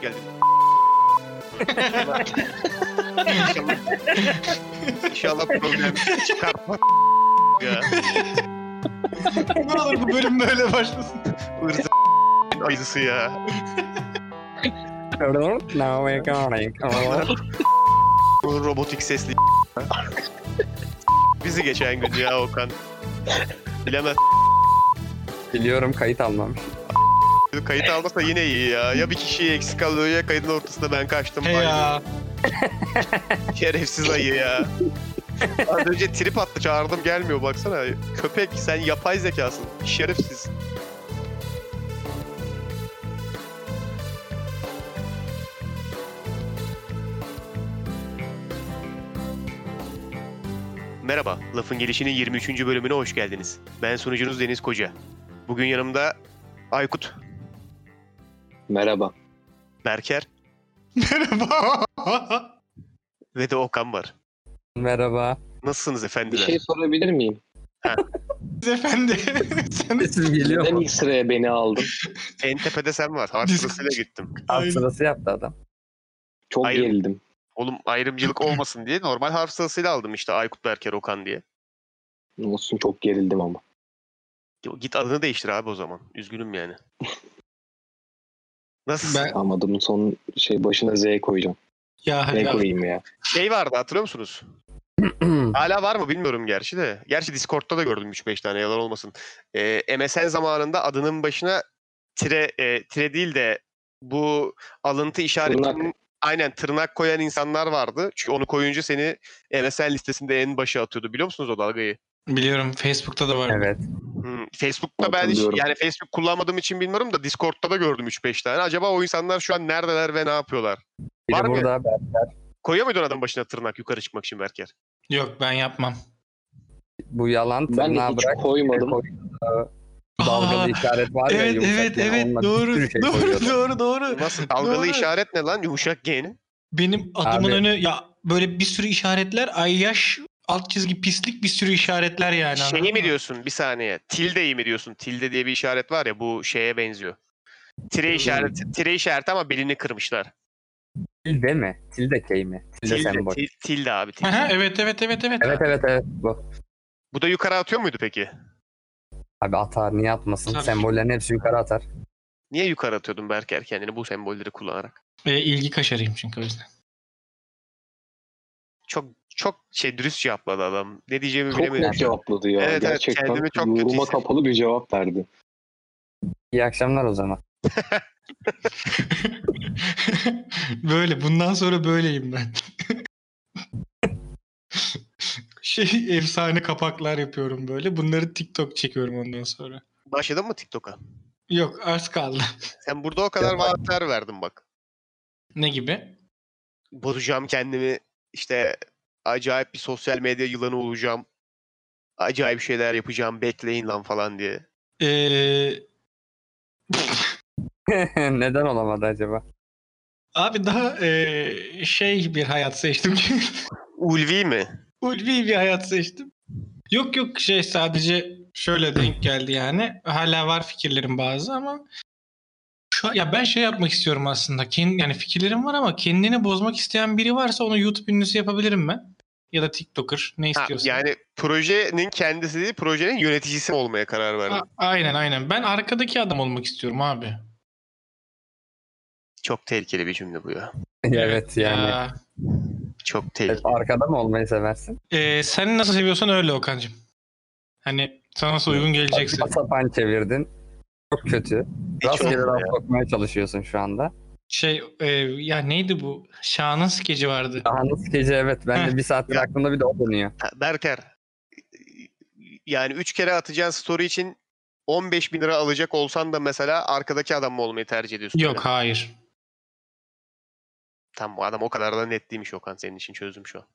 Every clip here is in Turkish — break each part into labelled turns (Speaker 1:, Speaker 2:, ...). Speaker 1: geldin. İnşallah. İnşallah problem çıkartma. ya. ne olur bu bölüm böyle başlasın. Irza acısı ya.
Speaker 2: No, we're going.
Speaker 1: Bu robotik sesli Bizi geçen gün ya Okan. Bilemez.
Speaker 2: Biliyorum kayıt almamış.
Speaker 1: Kayıt almasa yine iyi ya. Ya bir kişi eksik kalıyor ya kaydın ortasında ben kaçtım.
Speaker 3: Hey ya.
Speaker 1: Şerefsiz ayı ya. Az önce trip attı çağırdım gelmiyor baksana. Köpek sen yapay zekasın. Şerefsiz. Merhaba, Lafın Gelişi'nin 23. bölümüne hoş geldiniz. Ben sunucunuz Deniz Koca. Bugün yanımda Aykut,
Speaker 4: Merhaba.
Speaker 1: Berker
Speaker 3: Merhaba.
Speaker 1: ve de Okan var.
Speaker 2: Merhaba.
Speaker 1: Nasılsınız
Speaker 4: Bir
Speaker 1: efendiler?
Speaker 4: şey sorabilir miyim?
Speaker 3: Efendi. Sen
Speaker 2: Siz geliyor
Speaker 4: Neden
Speaker 2: mu?
Speaker 4: ilk sıraya beni aldın?
Speaker 1: En tepede sen var. Haklısıyla gittim.
Speaker 2: Alt sırası yaptı adam.
Speaker 4: Çok
Speaker 1: Hayır.
Speaker 4: gerildim.
Speaker 1: Oğlum ayrımcılık olmasın diye normal harf sırasıyla aldım işte Aykut Berker Okan diye.
Speaker 4: Olsun çok gerildim ama.
Speaker 1: Ya Git adını değiştir abi o zaman. Üzgünüm yani. Nasıl?
Speaker 3: Ben-
Speaker 4: Ama adımın son şey başına Z koyacağım.
Speaker 3: ya hadi
Speaker 4: Ne
Speaker 3: abi.
Speaker 4: koyayım ya?
Speaker 1: Şey vardı hatırlıyor musunuz? Hala var mı bilmiyorum gerçi de. Gerçi Discord'da da gördüm 3-5 tane yalan olmasın. Ee, MSN zamanında adının başına tire, e, tire değil de bu alıntı işaretinin
Speaker 4: Tırnak.
Speaker 1: aynen tırnak koyan insanlar vardı. Çünkü onu koyunca seni MSN listesinde en başa atıyordu. Biliyor musunuz o dalgayı?
Speaker 3: Biliyorum Facebook'ta da var.
Speaker 2: evet.
Speaker 1: Hmm, Facebook'ta ben hiç,
Speaker 4: Hatırlıyorum.
Speaker 1: yani Facebook kullanmadığım için bilmiyorum da Discord'ta da gördüm 3-5 tane. Acaba o insanlar şu an neredeler ve ne yapıyorlar? Var
Speaker 2: Biri
Speaker 1: mı?
Speaker 2: burada. Ben,
Speaker 1: Koyuyor muydun adam başına tırnak yukarı çıkmak için Berker?
Speaker 3: Yok ben yapmam.
Speaker 2: bu yalan
Speaker 4: Ben
Speaker 2: tırnağı
Speaker 4: hiç
Speaker 2: bırak.
Speaker 4: koymadım.
Speaker 2: Koy- e, Dalgalı işaret var ya.
Speaker 3: evet
Speaker 2: yumuşak
Speaker 3: evet
Speaker 2: yani,
Speaker 3: evet
Speaker 2: onunla bir
Speaker 3: doğru
Speaker 2: sürü şey
Speaker 3: doğru
Speaker 2: koyuyordu.
Speaker 3: doğru doğru.
Speaker 1: Nasıl dalgalı
Speaker 3: Doğru.
Speaker 1: işaret ne lan yumuşak G'nin?
Speaker 3: Benim adımın
Speaker 2: Abi.
Speaker 3: önü ya böyle bir sürü işaretler ay yaş alt çizgi pislik bir sürü işaretler yani. anladın
Speaker 1: Şeyi
Speaker 3: mı?
Speaker 1: Şey mi diyorsun bir saniye? Tildeyi mi diyorsun? Tilde diye bir işaret var ya bu şeye benziyor. Tire işareti, tire işareti ama belini kırmışlar.
Speaker 2: Tilde mi? Tilde key mi? Tilde,
Speaker 1: Tilde,
Speaker 2: sembol.
Speaker 1: til- tilde abi tilde.
Speaker 3: Aha, evet evet evet evet.
Speaker 2: Evet evet evet bu.
Speaker 1: Bu da yukarı atıyor muydu peki?
Speaker 2: Abi atar niye atmasın?
Speaker 3: Tabii.
Speaker 2: Sembollerin hepsi yukarı atar.
Speaker 1: Niye yukarı atıyordun Berker kendini bu sembolleri kullanarak?
Speaker 3: Ve ilgi kaşarıyım çünkü o yüzden.
Speaker 1: Çok çok şey dürüst cevapladı adam. Ne diyeceğimi
Speaker 4: Çok
Speaker 1: bilemedim.
Speaker 4: net cevapladı ya.
Speaker 1: Evet, evet,
Speaker 4: Gerçekten
Speaker 1: kendimi çok kötü
Speaker 4: yoruma
Speaker 1: hissettim.
Speaker 4: kapalı bir cevap verdi.
Speaker 2: İyi akşamlar o zaman.
Speaker 3: böyle bundan sonra böyleyim ben. şey efsane kapaklar yapıyorum böyle. Bunları TikTok çekiyorum ondan sonra.
Speaker 1: Başladın mı TikTok'a?
Speaker 3: Yok az kaldı.
Speaker 1: Sen burada o kadar
Speaker 2: Yapmadım.
Speaker 1: vaatler verdin bak.
Speaker 3: ne gibi?
Speaker 1: Bozacağım kendimi. işte acayip bir sosyal medya yılanı olacağım. Acayip şeyler yapacağım. Bekleyin lan falan diye.
Speaker 3: Ee,
Speaker 2: Neden olamadı acaba?
Speaker 3: abi daha ee, şey bir hayat seçtim.
Speaker 1: Ulvi mi?
Speaker 3: Ulvi bir hayat seçtim. Yok yok şey sadece şöyle denk geldi yani. Hala var fikirlerim bazı ama şu an- ya ben şey yapmak istiyorum aslında. Kendi, yani fikirlerim var ama kendini bozmak isteyen biri varsa onu YouTube ünlüsü yapabilirim ben. Ya da TikToker ne
Speaker 1: Ha,
Speaker 3: istiyorsan.
Speaker 1: yani projenin kendisi değil, projenin yöneticisi olmaya karar verdim.
Speaker 3: A- aynen aynen. Ben arkadaki adam olmak istiyorum abi.
Speaker 1: Çok tehlikeli bir cümle bu ya.
Speaker 2: evet, yani.
Speaker 3: Ya.
Speaker 1: Çok tehlikeli.
Speaker 2: Evet, arkada mı olmayı seversin?
Speaker 3: Ee, sen nasıl seviyorsan öyle Okan'cığım. Hani sana nasıl uygun gelecekse.
Speaker 2: Saçma sapan çevirdin. Çok kötü.
Speaker 1: Hiç
Speaker 2: Rastgele
Speaker 1: olmuyor
Speaker 2: laf
Speaker 1: ya.
Speaker 2: sokmaya çalışıyorsun şu anda.
Speaker 3: Şey e, ya neydi bu? Şahan'ın skeci vardı.
Speaker 2: Daha nasıl gece evet. Ben de bir saattir
Speaker 1: Ya.
Speaker 2: aklımda bir de o dönüyor.
Speaker 1: Ha, Berker. Yani 3 kere atacağın story için 15 bin lira alacak olsan da mesela arkadaki adam mı olmayı tercih ediyorsun?
Speaker 3: Yok hayır.
Speaker 1: Tam bu adam o kadar da net değilmiş Okan senin için çözdüm şu an.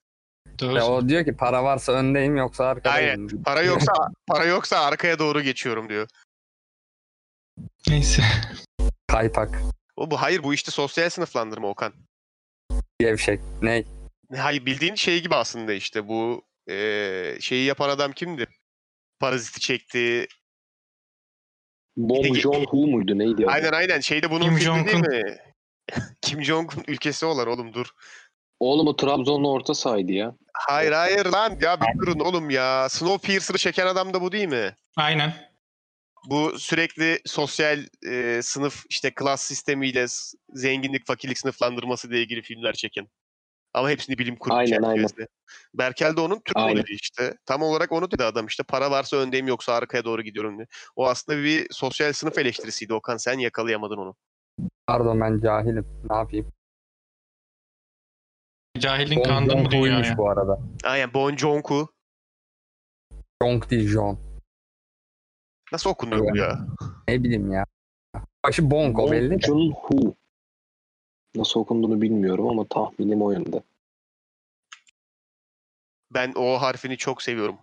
Speaker 3: Doğru.
Speaker 2: Ya o diyor ki para varsa öndeyim yoksa arkadayım.
Speaker 1: Para yoksa para yoksa arkaya doğru geçiyorum diyor.
Speaker 3: Neyse.
Speaker 2: Kaypak,
Speaker 1: O bu hayır bu işte sosyal sınıflandırma Okan.
Speaker 2: gevşek, ne?
Speaker 1: Hayır bildiğin şey gibi aslında işte bu eee, şeyi yapan adam kimdi? Paraziti çekti.
Speaker 4: Bom
Speaker 1: Peki-
Speaker 4: John Hu muydu neydi? adı?
Speaker 1: Aynen aynen şeyde bunun
Speaker 3: Kim
Speaker 1: filmi değil
Speaker 3: Jong-un.
Speaker 1: mi? Kim Jong-un ülkesi olan oğlum dur.
Speaker 4: Oğlum o Trabzon'un orta sahaydı ya.
Speaker 1: Hayır hayır lan ya bir durun oğlum ya. Snowpiercer'ı çeken adam da bu değil mi?
Speaker 3: Aynen.
Speaker 1: bu sürekli sosyal e, sınıf işte klas sistemiyle s- zenginlik fakirlik sınıflandırması ile ilgili filmler çeken. Ama hepsini bilim kurgu
Speaker 4: Aynen,
Speaker 1: çerçevesinde. Berkel de onun türü
Speaker 4: Aynen.
Speaker 1: modeli işte. Tam olarak onu dedi adam işte. Para varsa öndeyim yoksa arkaya doğru gidiyorum diye. O aslında bir sosyal sınıf eleştirisiydi Okan. Sen yakalayamadın onu.
Speaker 2: Pardon ben cahilim. Ne yapayım?
Speaker 3: Cahilin
Speaker 2: Bong
Speaker 3: kandı mı dünya
Speaker 2: Joon-ho'ymuş
Speaker 3: ya?
Speaker 2: bu arada.
Speaker 1: Aynen Bon Joon-ku.
Speaker 2: Jong değil Jong.
Speaker 1: Nasıl okunuyor bu ya?
Speaker 2: Ne bileyim ya. Başı Bong o belli. de.
Speaker 4: Jun Hu. Nasıl okunduğunu bilmiyorum ama tahminim o yönde.
Speaker 1: Ben O harfini çok seviyorum.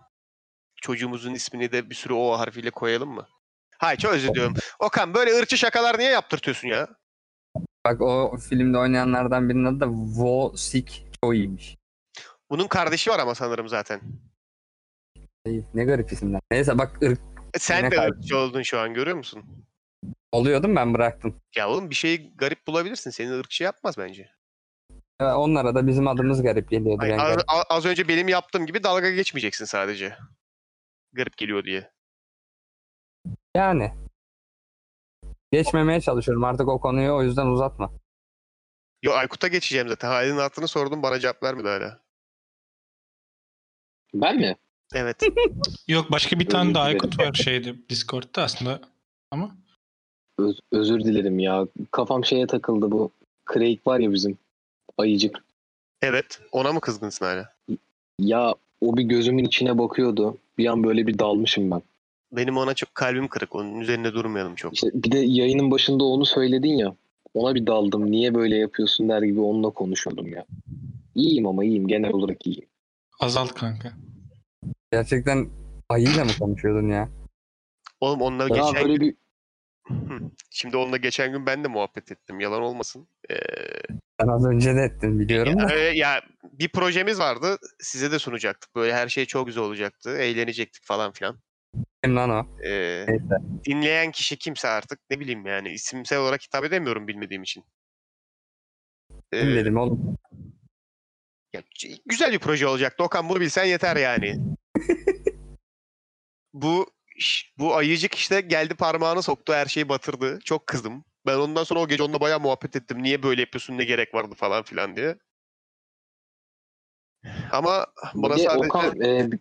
Speaker 1: Çocuğumuzun ismini de bir sürü O harfiyle koyalım mı? Hayır çok özür diliyorum. Okan böyle ırkçı şakalar niye yaptırtıyorsun ya?
Speaker 2: Bak o filmde oynayanlardan birinin adı da Wo Sik Choi'ymiş.
Speaker 1: Bunun kardeşi var ama sanırım zaten.
Speaker 2: Ey, Ne garip isimler. Neyse bak ırk
Speaker 1: E, Sen
Speaker 2: Yine
Speaker 1: de
Speaker 2: kardeşi.
Speaker 1: ırkçı oldun şu an görüyor musun?
Speaker 2: oluyordum ben bıraktım.
Speaker 1: Ya oğlum bir şeyi garip bulabilirsin. Seni ırkçı yapmaz bence.
Speaker 2: Ee, Onlara da bizim adımız garip geliyordu.
Speaker 1: Ay,
Speaker 2: ben
Speaker 1: az,
Speaker 2: garip-
Speaker 1: a- az önce benim yaptığım gibi dalga geçmeyeceksin sadece. Garip geliyor diye.
Speaker 2: Yani. Geçmemeye çalışıyorum artık o konuyu o yüzden uzatma.
Speaker 1: Yo Aykut'a geçeceğim zaten. Halinin aklını sordum bana cevap vermedi hala.
Speaker 4: Ben mi?
Speaker 1: Evet.
Speaker 3: Yok başka bir tane
Speaker 4: Özür
Speaker 3: daha
Speaker 4: dilerim.
Speaker 3: Aykut var şeyde Discord'da aslında. Ama
Speaker 4: Öz- özür dilerim ya. Kafam şeye takıldı bu. Craig var ya bizim. Ayıcık.
Speaker 1: evet. Ona mı kızgınsın hala?
Speaker 4: Ya o bir gözümün içine bakıyordu. Bir an böyle bir dalmışım ben.
Speaker 1: Benim ona çok kalbim kırık. Onun üzerinde durmayalım çok.
Speaker 4: İşte bir de yayının başında onu söyledin ya. Ona bir daldım. Niye böyle yapıyorsun der gibi onunla konuşuyordum ya. İyiyim ama iyiyim. Genel olarak iyiyim.
Speaker 3: azalt kanka.
Speaker 2: Gerçekten ayıyla mı konuşuyordun ya?
Speaker 1: Oğlum onunla
Speaker 4: Ya
Speaker 1: geçen
Speaker 4: böyle bir
Speaker 1: şimdi onunla geçen gün ben de muhabbet ettim. Yalan olmasın. Ee,
Speaker 2: Ben az önce de ettim biliyorum da.
Speaker 1: Ee, ya bir projemiz vardı. Size de sunacaktık. Böyle her şey çok güzel olacaktı. Eğlenecektik falan filan.
Speaker 2: Kim lan o?
Speaker 1: Ee,
Speaker 2: Neyse.
Speaker 1: dinleyen kişi kimse artık ne bileyim yani isimsel olarak hitap edemiyorum bilmediğim için. Ee,
Speaker 2: Kim dedim oğlum?
Speaker 1: ya, c- güzel bir proje olacaktı. Okan bunu bilsen yeter yani. bu ş- bu ayıcık işte geldi parmağını soktu her şeyi batırdı. Çok kızdım. Ben ondan sonra o gece onunla bayağı muhabbet ettim. Niye böyle yapıyorsun ne gerek vardı falan filan diye. Ama bana
Speaker 4: bir de
Speaker 1: sadece...
Speaker 4: Okan e, bir-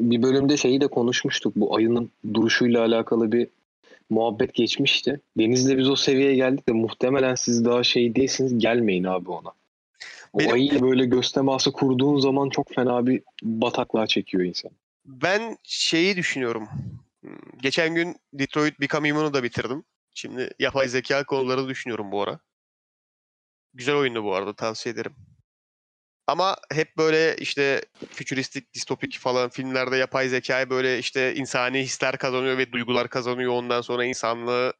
Speaker 4: bir bölümde şeyi de konuşmuştuk. Bu ayının duruşuyla alakalı bir muhabbet geçmişti. Deniz'le biz o seviyeye geldik de muhtemelen siz daha şey değilsiniz. Gelmeyin abi ona. O
Speaker 1: Benim-
Speaker 4: ayıyla böyle göz teması kurduğun zaman çok fena bir bataklığa çekiyor insan.
Speaker 1: Ben şeyi düşünüyorum. Hmm, Geçen gün Detroit Become Human'ı da bitirdim. Şimdi yapay zeka konuları düşünüyorum bu ara. Güzel oyundu bu arada tavsiye ederim. Ama hep böyle işte fütüristik, distopik falan filmlerde yapay zekayı böyle işte insani hisler kazanıyor ve duygular kazanıyor. Ondan sonra insanlığı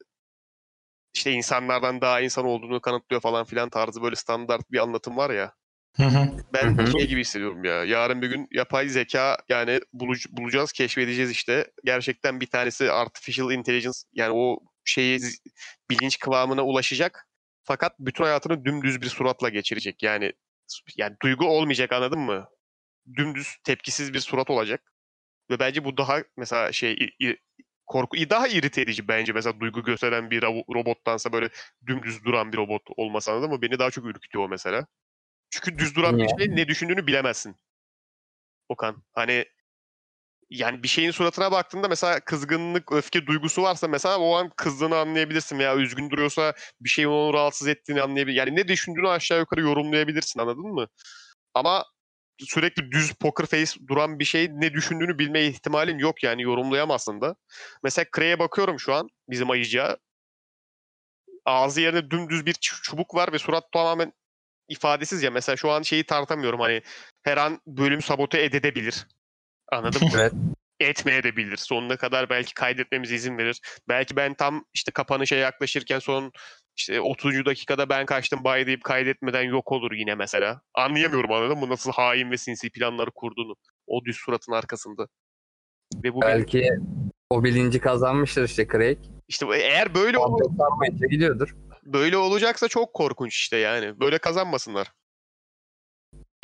Speaker 1: işte insanlardan daha insan olduğunu kanıtlıyor falan filan tarzı böyle standart bir anlatım var ya.
Speaker 3: Hı hı.
Speaker 1: Ben
Speaker 2: Hı hı.
Speaker 1: şey gibi hissediyorum ya. Yarın bir gün yapay zeka yani buluc- bulacağız, keşfedeceğiz işte. Gerçekten bir tanesi artificial intelligence yani o şeyi z- bilinç kıvamına ulaşacak. Fakat bütün hayatını dümdüz bir suratla geçirecek. Yani yani duygu olmayacak anladın mı? Dümdüz tepkisiz bir surat olacak. Ve bence bu daha mesela şey i- i- korku i- daha irite edici bence mesela duygu gösteren bir ro- robottansa böyle dümdüz duran bir robot olması anladın mı? Beni daha çok ürkütüyor o mesela. Çünkü düz duran bir
Speaker 2: Niye?
Speaker 1: şeyin ne düşündüğünü bilemezsin. Okan hani yani bir şeyin suratına baktığında mesela kızgınlık, öfke duygusu varsa mesela o an kızdığını anlayabilirsin veya üzgün duruyorsa bir şeyin onu rahatsız ettiğini anlayabilirsin. Yani ne düşündüğünü aşağı yukarı yorumlayabilirsin anladın mı? Ama sürekli düz poker face duran bir şey ne düşündüğünü bilme ihtimalin yok yani yorumlayamazsın da. Mesela Kray'e bakıyorum şu an bizim ayıcıya. Ağzı yerine dümdüz bir çu- çubuk var ve surat tamamen ifadesiz ya. Mesela şu an şeyi tartamıyorum hani her an bölüm sabote edebilir. Anladın mı?
Speaker 2: Evet.
Speaker 1: etmeye de bilir. Sonuna kadar belki kaydetmemize izin verir. Belki ben tam işte kapanışa yaklaşırken son işte 30. dakikada ben kaçtım bay deyip kaydetmeden yok olur yine mesela. Anlayamıyorum anladın mı? Nasıl hain ve sinsi planları kurduğunu. O düz suratın arkasında. Ve bu benim-
Speaker 2: Belki o bilinci kazanmıştır işte Craig.
Speaker 1: işte eğer böyle olur
Speaker 2: Sarmayınca gidiyordur.
Speaker 1: böyle olacaksa çok korkunç işte yani. Böyle kazanmasınlar.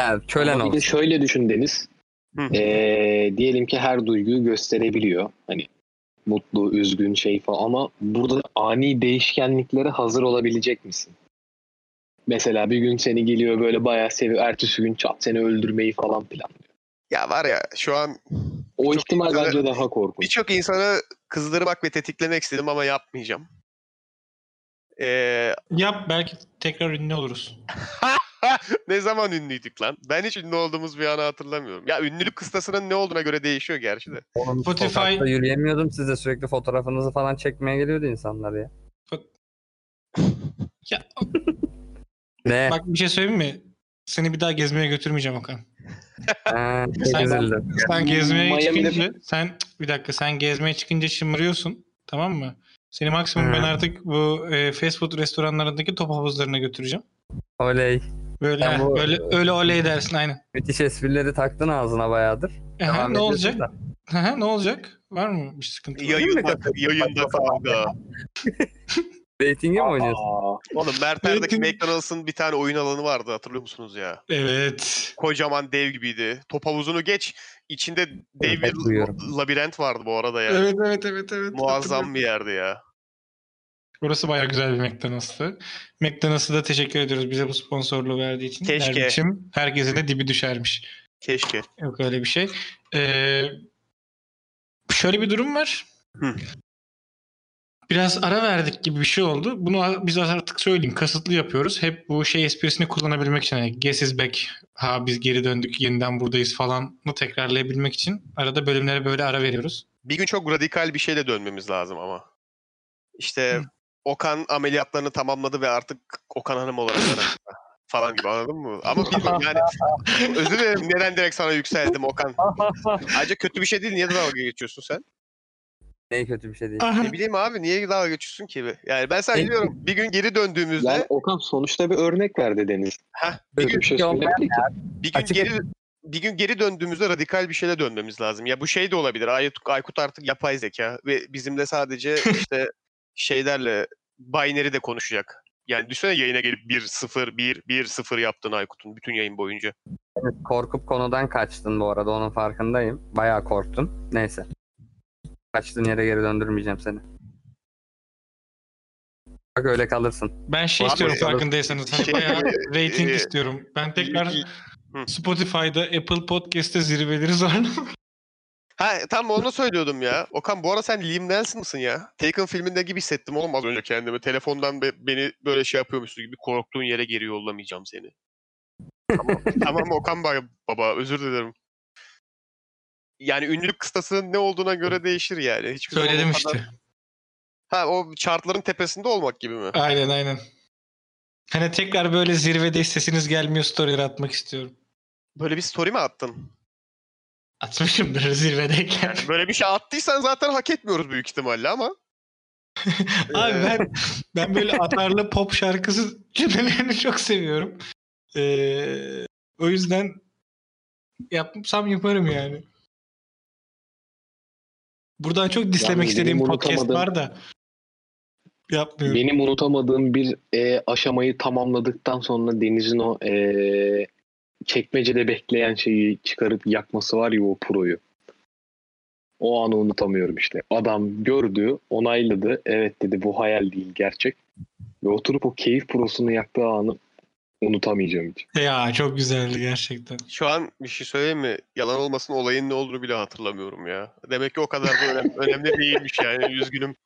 Speaker 2: Yani kölen
Speaker 4: Ama bir de
Speaker 2: olsun.
Speaker 4: şöyle düşün Deniz.
Speaker 1: Hı.
Speaker 4: Ee, diyelim ki her duyguyu gösterebiliyor. Hani mutlu, üzgün şey falan ama burada ani değişkenliklere hazır olabilecek misin? Mesela bir gün seni geliyor böyle bayağı seviyor. Ertesi gün çat seni öldürmeyi falan filan.
Speaker 1: Ya var ya şu an
Speaker 4: O
Speaker 1: Çok
Speaker 4: ihtimal
Speaker 1: güzel.
Speaker 4: bence daha korkunç.
Speaker 1: birçok insanı kızdırmak ve tetiklemek istedim ama yapmayacağım. Ee,
Speaker 3: Yap belki tekrar ünlü oluruz.
Speaker 1: ne zaman ünlüydük lan? Ben hiç ünlü olduğumuz bir anı hatırlamıyorum. Ya ünlülük kıstasının ne olduğuna göre değişiyor gerçi de.
Speaker 2: Oğlum,
Speaker 3: Spotify-
Speaker 2: Sokakta yürüyemiyordum. Siz de sürekli fotoğrafınızı falan çekmeye geliyordu insanlar ya.
Speaker 3: Ya
Speaker 2: Ne?
Speaker 3: bak bir şey söyleyeyim mi? Seni bir daha gezmeye götürmeyeceğim Okan.
Speaker 2: Ha, çok
Speaker 3: Sen-
Speaker 2: üzüldüm.
Speaker 3: Sen gezmeye
Speaker 4: Miami'de-
Speaker 3: çıkınca sen bir dakika sen gezmeye çıkınca şımarıyorsun tamam mı? Seni maksimum
Speaker 2: Hı.
Speaker 3: ben artık bu e, fast food restoranlarındaki top havuzlarına götüreceğim.
Speaker 2: Oley.
Speaker 3: Böyle
Speaker 2: Ben bu-
Speaker 3: böyle öyle oley edersin aynen.
Speaker 2: Müthiş esprileri taktın ağzına bayağıdır.
Speaker 3: Ehe,
Speaker 2: Devam
Speaker 3: ne
Speaker 2: ediyorsun
Speaker 3: olacak?
Speaker 2: da.
Speaker 3: Ehe, ne olacak? Var mı bir sıkıntı?
Speaker 1: Yayında, yayında kavga.
Speaker 2: Dating'e şey mi oynuyorsun?
Speaker 4: Aa,
Speaker 1: Oğlum Mert Erdek'in
Speaker 3: Metin-
Speaker 1: McDonald's'ın bir tane oyun alanı vardı hatırlıyor musunuz ya?
Speaker 3: Evet.
Speaker 1: Kocaman dev gibiydi. Top havuzunu geç. içinde dev
Speaker 2: Evet,
Speaker 1: bir
Speaker 2: duyuyorum.
Speaker 1: labirent vardı bu arada ya.
Speaker 3: Evet evet evet evet. Hatırlıyorum.
Speaker 1: Muazzam bir yerdi ya.
Speaker 3: Burası bayağı güzel bir McDonald's'tı. McDonald's'a da teşekkür ediyoruz bize bu sponsorluğu verdiği için.
Speaker 1: Keşke.
Speaker 3: Dervişim, herkese de dibi düşermiş.
Speaker 1: Keşke.
Speaker 3: Yok öyle bir şey. Ee, şöyle bir durum var.
Speaker 1: Hı.
Speaker 3: Biraz ara verdik gibi bir şey oldu. Bunu a- biz artık söyleyeyim. Kasıtlı yapıyoruz. Hep bu şey esprisini kullanabilmek için. Hani, Guess is back. Ha biz geri döndük. Yeniden buradayız falan. Bunu tekrarlayabilmek için. Arada bölümlere böyle ara veriyoruz.
Speaker 1: Bir gün çok radikal bir şeyle dönmemiz lazım ama. İşte
Speaker 3: Hı.
Speaker 1: Okan ameliyatlarını tamamladı ve artık Okan Hanım olarak aramızda. falan gibi anladın mı? Ama bilmiyorum yani özür dilerim neden direkt sana yükseldim Okan. Ayrıca kötü bir şey değil niye dalga geçiyorsun sen?
Speaker 2: Ne kötü bir şey değil.
Speaker 3: Aha.
Speaker 1: Ne bileyim abi niye dalga geçiyorsun ki? Yani ben sana
Speaker 2: Peki.
Speaker 1: diyorum bir gün geri döndüğümüzde
Speaker 4: yani Okan sonuçta bir örnek verdi Deniz.
Speaker 1: Heh, bir
Speaker 4: Kötü
Speaker 1: gün,
Speaker 4: bir şey
Speaker 2: Yok, ben-
Speaker 4: söylemedi ki.
Speaker 1: bir gün
Speaker 2: Açık-
Speaker 1: geri bir gün geri döndüğümüzde radikal bir şeyle dönmemiz lazım. Ya bu şey de olabilir. Aykut, Aykut artık yapay zeka ve bizimle sadece işte şeylerle binary de konuşacak. Yani düşünsene yayına gelip 1 0 1 1 0 yaptın Aykut'un bütün yayın boyunca.
Speaker 2: Korkup konudan kaçtın bu arada onun farkındayım. Bayağı korktun. Neyse. Kaçtığın yere geri döndürmeyeceğim seni. Bak öyle kalırsın.
Speaker 3: Ben şey
Speaker 1: Abi,
Speaker 3: istiyorum
Speaker 1: yalnız-
Speaker 3: farkındaysanız. Hani bayağı rating
Speaker 1: Ee,
Speaker 3: istiyorum. Ben tekrar
Speaker 1: Hı.
Speaker 3: Spotify'da, Apple Podcast'te zirveleri zorlamak.
Speaker 1: Ha tam onu söylüyordum ya. Okan bu ara sen Liam Neeson mısın ya? Taken filminde gibi hissettim oğlum az önce kendimi. Telefondan be- beni böyle şey yapıyormuşsun gibi korktuğun yere geri yollamayacağım seni. tamam, tamam Okan ba- baba özür dilerim. Yani ünlülük kıstasının ne olduğuna göre değişir yani. Hiçbir zaman o
Speaker 3: Söyledim
Speaker 1: kadar-
Speaker 3: işte.
Speaker 1: Ha o chartların tepesinde olmak gibi mi?
Speaker 3: Aynen aynen. Hani tekrar böyle zirvede sesiniz gelmiyor storyler atmak istiyorum.
Speaker 1: Böyle bir story mi attın?
Speaker 3: Atmışımdır zirvedeyken.
Speaker 1: Böyle bir şey attıysan zaten hak etmiyoruz büyük ihtimalle ama.
Speaker 3: Abi
Speaker 1: Ee,
Speaker 3: ben ben böyle atarlı pop şarkısı cümlelerini çok seviyorum. Ee, o yüzden yapsam yaparım yani. Buradan çok dislemek
Speaker 4: benim
Speaker 3: istediğim podcast
Speaker 4: unutamadığım-
Speaker 3: var da yapmıyorum.
Speaker 4: Benim unutamadığım bir e, aşamayı tamamladıktan sonra Deniz'in o e, çekmecede bekleyen şeyi çıkarıp yakması var ya o proyu. O anı unutamıyorum işte. Adam gördü, onayladı. Evet dedi bu hayal değil gerçek. Ve oturup o keyif prosunu yaktığı anı unutamayacağım hiç.
Speaker 3: Ya çok güzeldi gerçekten.
Speaker 1: Şu an bir şey söyleyeyim mi? Yalan olmasın olayın ne olduğunu bile hatırlamıyorum ya. Demek ki o kadar da önem- önemli değilmiş yani. Üzgünüm.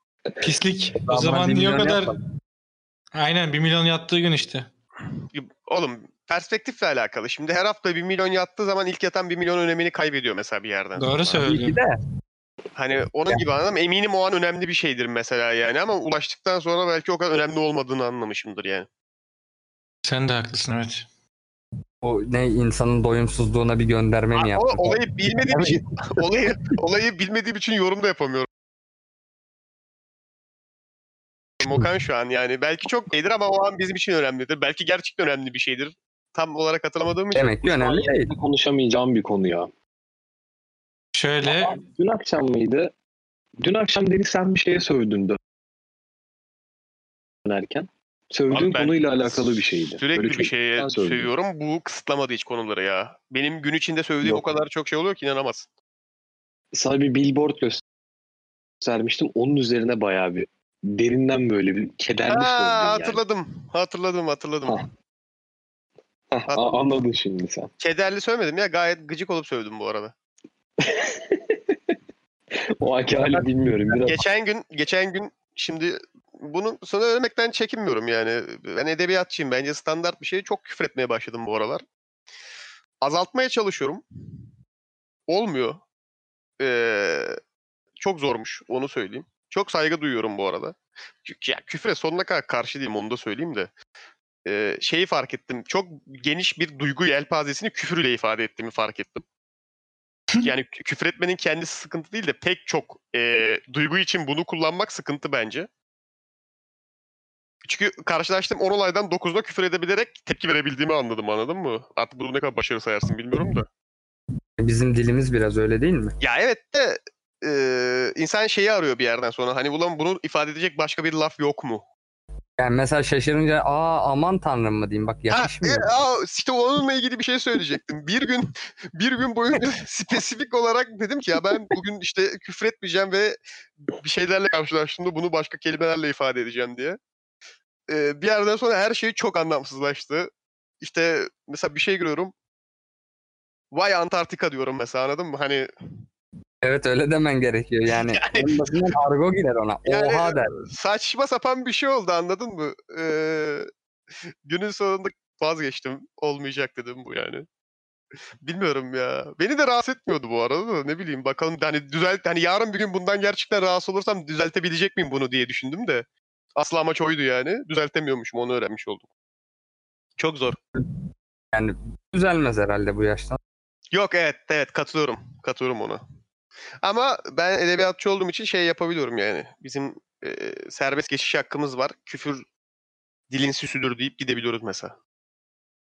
Speaker 3: Pislik. O
Speaker 2: Ama
Speaker 3: zaman
Speaker 2: bir
Speaker 3: niye o
Speaker 2: milyon
Speaker 3: kadar...
Speaker 2: yapma.
Speaker 3: Aynen 1 milyon yattığı gün işte.
Speaker 1: Oğlum perspektifle alakalı. Şimdi her hafta 1 milyon yattığı zaman ilk yatan 1 milyon önemini kaybediyor mesela bir yerden.
Speaker 3: Doğru
Speaker 1: sonra.
Speaker 2: İyi ki
Speaker 3: söylüyorsun.
Speaker 2: de.
Speaker 1: Hani onun gibi anladım. Eminim o an önemli bir şeydir mesela yani ama ulaştıktan sonra belki o kadar önemli olmadığını anlamışımdır yani.
Speaker 3: Sen de haklısın evet.
Speaker 2: O ne insanın doyumsuzluğuna bir gönderme mi
Speaker 1: O
Speaker 2: yaptın?
Speaker 1: olayı bilmediğim için olayı olayı bilmediğim için yorum da yapamıyorum. Mokan şu an yani belki çok şeydir ama o an bizim için önemlidir. Belki gerçekten önemli bir şeydir. Tam olarak hatırlamadığım için.
Speaker 2: Demek ki önemli değil.
Speaker 4: Konuşamayacağım bir konu ya.
Speaker 3: Şöyle
Speaker 4: Aa, Dün akşam mıydı? Dün akşam Deniz sen bir şeye sövdündü. Dönerken. Sövdüğün
Speaker 1: Abi ben
Speaker 4: konuyla alakalı bir şeydi.
Speaker 1: Sürekli
Speaker 4: Böyle
Speaker 1: bir
Speaker 4: çok-
Speaker 1: şeye
Speaker 4: Ben sövdüm.
Speaker 1: sövüyorum. Bu kısıtlamadı hiç konuları ya. Benim gün içinde sövdüğüm
Speaker 4: Yok.
Speaker 1: o kadar çok şey oluyor ki inanamazsın.
Speaker 4: Sana bir billboard göstermiştim. Onun üzerine bayağı bir derinden böyle bir
Speaker 1: Ha,
Speaker 4: kederli sövdün yani. Ah.
Speaker 1: hatırladım. Hatırladım, hatırladım.
Speaker 4: Ha. Heh, a- anladın şimdi sen.
Speaker 1: Kederli sövmedim ya. Gayet gıcık olup sövdüm bu arada.
Speaker 4: O anki hali bilmiyorum. Biraz
Speaker 1: Geçen gün, geçen gün şimdi bunu sana öğrenmekten çekinmiyorum yani. Ben edebiyatçıyım. Bence standart bir şey. Çok küfür etmeye başladım bu aralar. Azaltmaya çalışıyorum. Olmuyor. Ee, çok zormuş. Onu söyleyeyim. Çok saygı duyuyorum bu arada. Çünkü ya küfre sonuna kadar karşı değilim onu da söyleyeyim de. Ee, şeyi fark ettim. Çok geniş bir duygu yelpazesini küfürle ifade ettiğimi fark ettim. Yani kü- küfür etmenin kendisi sıkıntı değil de pek çok e, duygu için bunu kullanmak sıkıntı bence. Çünkü karşılaştığım 10 olaydan 9'da küfür edebilerek tepki verebildiğimi anladım anladın mı? Artık bunu ne kadar başarı sayarsın bilmiyorum da.
Speaker 2: Bizim dilimiz biraz öyle değil mi?
Speaker 1: Ya evet de e, insan şeyi arıyor bir yerden sonra. Hani ulan bunu ifade edecek başka bir laf yok mu?
Speaker 2: Yani mesela şaşırınca aa aman tanrım mı diyeyim bak
Speaker 1: Ha,
Speaker 2: yakışmıyor.
Speaker 1: e, aa, işte onunla ilgili bir şey söyleyecektim. Bir gün bir gün boyunca spesifik olarak dedim ki ya ben bugün işte küfür etmeyeceğim ve bir şeylerle karşılaştığımda bunu başka kelimelerle ifade edeceğim diye. Ee, bir yerden sonra her şey çok anlamsızlaştı. İşte mesela bir şey görüyorum. Vay Antarktika diyorum mesela anladın mı? Hani
Speaker 2: Evet öyle demen gerekiyor yani. en basitinden argo gider ona.
Speaker 1: Yani-
Speaker 2: Oha der.
Speaker 1: saçma sapan bir şey oldu anladın mı? Ee, günün sonunda vazgeçtim. Olmayacak dedim bu yani. Bilmiyorum ya. Beni de rahatsız etmiyordu bu arada da ne bileyim bakalım hani düzelt hani yarın bir gün bundan gerçekten rahatsız olursam düzeltebilecek miyim bunu diye düşündüm de asıl amaç oydu yani. Düzeltemiyormuşum onu öğrenmiş oldum. Çok zor.
Speaker 2: Yani düzelmez herhalde bu yaştan.
Speaker 1: Yok evet evet katılıyorum. Katılıyorum ona. Ama ben edebiyatçı olduğum için şey yapabiliyorum yani. Bizim e, serbest geçiş hakkımız var. Küfür dilin süsüdür deyip gidebiliyoruz mesela.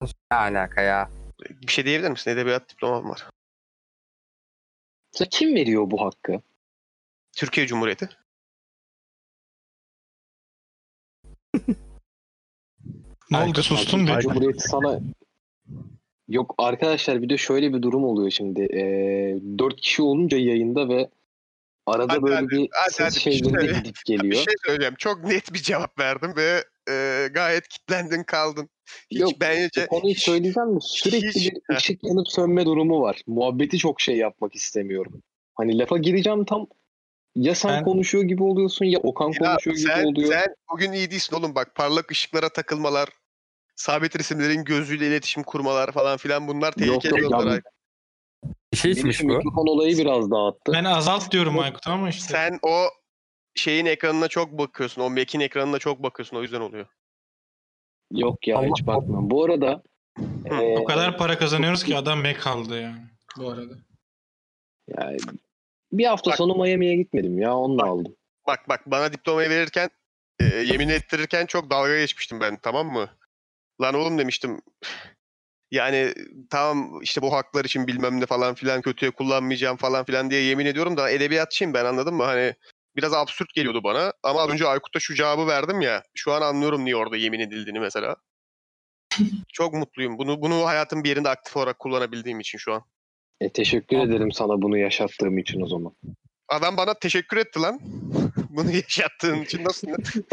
Speaker 2: Ne alaka ya?
Speaker 1: Bir şey diyebilir misin? Edebiyat diplomam var.
Speaker 4: Mesela kim veriyor bu hakkı?
Speaker 1: Türkiye Cumhuriyeti.
Speaker 3: Ne oldu sustun be.
Speaker 4: Cumhuriyet sana... Yok arkadaşlar bir de şöyle bir durum oluyor şimdi. Ee, dört kişi olunca yayında ve arada
Speaker 1: Hadi,
Speaker 4: böyle
Speaker 1: hadi,
Speaker 4: bir
Speaker 1: hadi,
Speaker 4: ses
Speaker 1: hadi, bir
Speaker 4: şeyleri de
Speaker 1: şey-
Speaker 4: gidip geliyor.
Speaker 1: Bir şey söyleyeceğim. Çok net bir cevap verdim ve e, gayet kitlendin kaldın. Hiç
Speaker 4: Yok,
Speaker 1: bence
Speaker 4: Bu konuyu
Speaker 1: hiç-
Speaker 4: söyleyeceğim de sürekli
Speaker 1: hiç-
Speaker 4: bir ışık yanıp sönme durumu var. Muhabbeti çok şey yapmak istemiyorum. Hani lafa gireceğim tam ya sen
Speaker 3: Ben-
Speaker 4: konuşuyor gibi oluyorsun ya Okan
Speaker 1: Ya
Speaker 4: konuşuyor
Speaker 1: sen,
Speaker 4: gibi oluyor.
Speaker 1: sen bugün iyi değilsin oğlum bak. Parlak ışıklara takılmalar, sabit resimlerin gözüyle iletişim kurmalar falan filan bunlar
Speaker 4: Yok,
Speaker 1: tehlikeli
Speaker 4: yok,
Speaker 1: yollar.
Speaker 4: abi.
Speaker 1: abi.
Speaker 2: Bir şey
Speaker 4: Benim
Speaker 2: içmiş
Speaker 4: şu
Speaker 2: bu.
Speaker 4: mikrofon olayı biraz dağıttı.
Speaker 3: Ben azalt diyorum Aykut ama işte.
Speaker 1: Sen o şeyin ekranına çok bakıyorsun. O Mac'in ekranına çok bakıyorsun. O yüzden oluyor.
Speaker 4: Yok ya
Speaker 2: Allah-
Speaker 4: hiç bakmıyorum. Bu arada
Speaker 1: Hı,
Speaker 4: eee,
Speaker 3: O kadar para kazanıyoruz ki adam mek aldı yani. Bu arada.
Speaker 4: yani bir hafta
Speaker 1: Bak-
Speaker 4: sonu Miami'ye gitmedim ya onunla
Speaker 1: Bak-
Speaker 4: aldım.
Speaker 1: Bak bak bana diplomayı verirken e, yemin ettirirken çok dalga geçmiştim ben tamam mı? Lan oğlum demiştim. Yani tamam işte bu haklar için bilmem ne falan filan kötüye kullanmayacağım falan filan diye yemin ediyorum da edebiyatçıyım ben anladın mı? Hani biraz absürt geliyordu bana ama az önce Aykut'a şu cevabı verdim ya. Şu an anlıyorum niye orada yemin edildiğini mesela. çok mutluyum. Bunu bunu hayatın bir yerinde aktif olarak kullanabildiğim için şu an.
Speaker 4: E, teşekkür ederim sana bunu yaşattığım için o zaman.
Speaker 1: Adam bana teşekkür etti lan. Bunu yaşattığın için nasıl?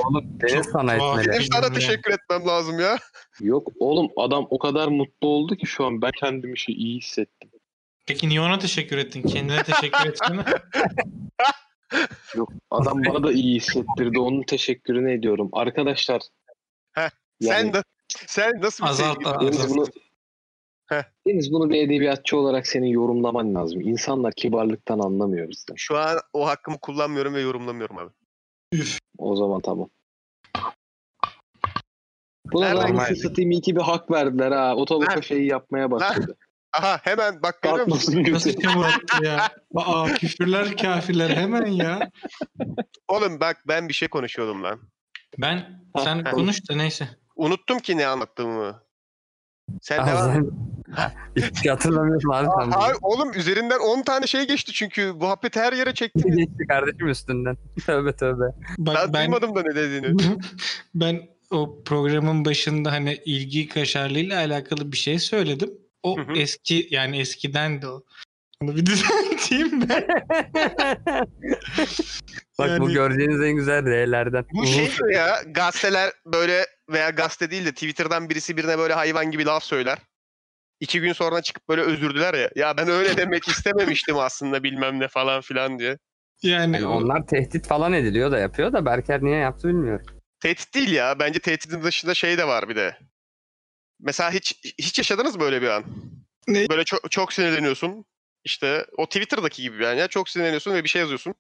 Speaker 2: Oğlum deniz
Speaker 3: Çok
Speaker 2: sana
Speaker 3: tuhaf.
Speaker 2: etmeli.
Speaker 1: Benim sana
Speaker 3: Bilmiyorum.
Speaker 1: teşekkür etmem lazım ya.
Speaker 4: Yok oğlum adam o kadar mutlu oldu ki şu an ben kendimi şey iyi hissettim.
Speaker 3: Peki niye ona teşekkür ettin? Kendine teşekkür etsene.
Speaker 4: Yok adam bana da iyi hissettirdi. Onun teşekkürünü ediyorum. Arkadaşlar
Speaker 1: Heh,
Speaker 4: yani-
Speaker 1: Sen de sen nasıl bir
Speaker 3: Azalt
Speaker 1: sevgili-
Speaker 3: azalt.
Speaker 4: Deniz bunu,
Speaker 1: Heh.
Speaker 4: Deniz bunu bir edebiyatçı olarak senin yorumlaman lazım. İnsanlar kibarlıktan anlamıyor bizden.
Speaker 1: Şu an o hakkımı kullanmıyorum ve yorumlamıyorum abi.
Speaker 4: O zaman tamam. Buna
Speaker 1: Nereden
Speaker 4: da
Speaker 2: geldi?
Speaker 4: satayım iyi ki bir hak verdiler ha. Otobüse
Speaker 1: Lan.
Speaker 4: şeyi yapmaya başladı.
Speaker 1: Aha hemen bak görüyor musun?
Speaker 4: Kalkmasın
Speaker 3: Nasıl
Speaker 4: götü.
Speaker 3: çabuk attı ya? Aa küfürler kafirler hemen ya.
Speaker 1: Oğlum bak ben bir şey konuşuyordum lan.
Speaker 3: Ben sen
Speaker 1: Ha.
Speaker 3: konuş da neyse.
Speaker 1: Unuttum ki ne anlattığımı. Sen devam et.
Speaker 2: Ağzını- Hiç hatırlamıyorsun abi sen.
Speaker 1: Aa,
Speaker 2: bunu.
Speaker 1: abi, oğlum üzerinden 10 tane şey geçti çünkü muhabbet her yere
Speaker 2: şey
Speaker 1: çekti.
Speaker 2: Geçti kardeşim üstünden. Tövbe tövbe.
Speaker 3: Bak
Speaker 1: Ben,
Speaker 3: ben
Speaker 1: duymadım da ne dediğini.
Speaker 3: ben o programın başında hani ilgi kaşarlığıyla alakalı bir şey söyledim. O
Speaker 1: Hı hı.
Speaker 3: eski yani eskiden de o. Onu bir düzelteyim ben.
Speaker 2: Bak bu
Speaker 3: Yani-
Speaker 2: gördüğünüz en güzel R'lerden.
Speaker 1: Bu şey mi ya gazeteler böyle veya gazete değil de Twitter'dan birisi birine böyle hayvan gibi laf söyler. İki gün sonra çıkıp böyle özür diler ya. Ya ben öyle demek istememiştim aslında bilmem ne falan filan diye.
Speaker 3: Yani
Speaker 2: Yani
Speaker 3: o-
Speaker 2: onlar tehdit falan ediliyor da yapıyor da Berker niye yaptı bilmiyorum.
Speaker 1: Tehdit değil ya. Bence tehditin dışında şey de var bir de. Mesela hiç hiç yaşadınız mı böyle bir an?
Speaker 3: Ne?
Speaker 1: Böyle çok, çok sinirleniyorsun. İşte o Twitter'daki gibi yani ya. Çok sinirleniyorsun ve bir şey yazıyorsun.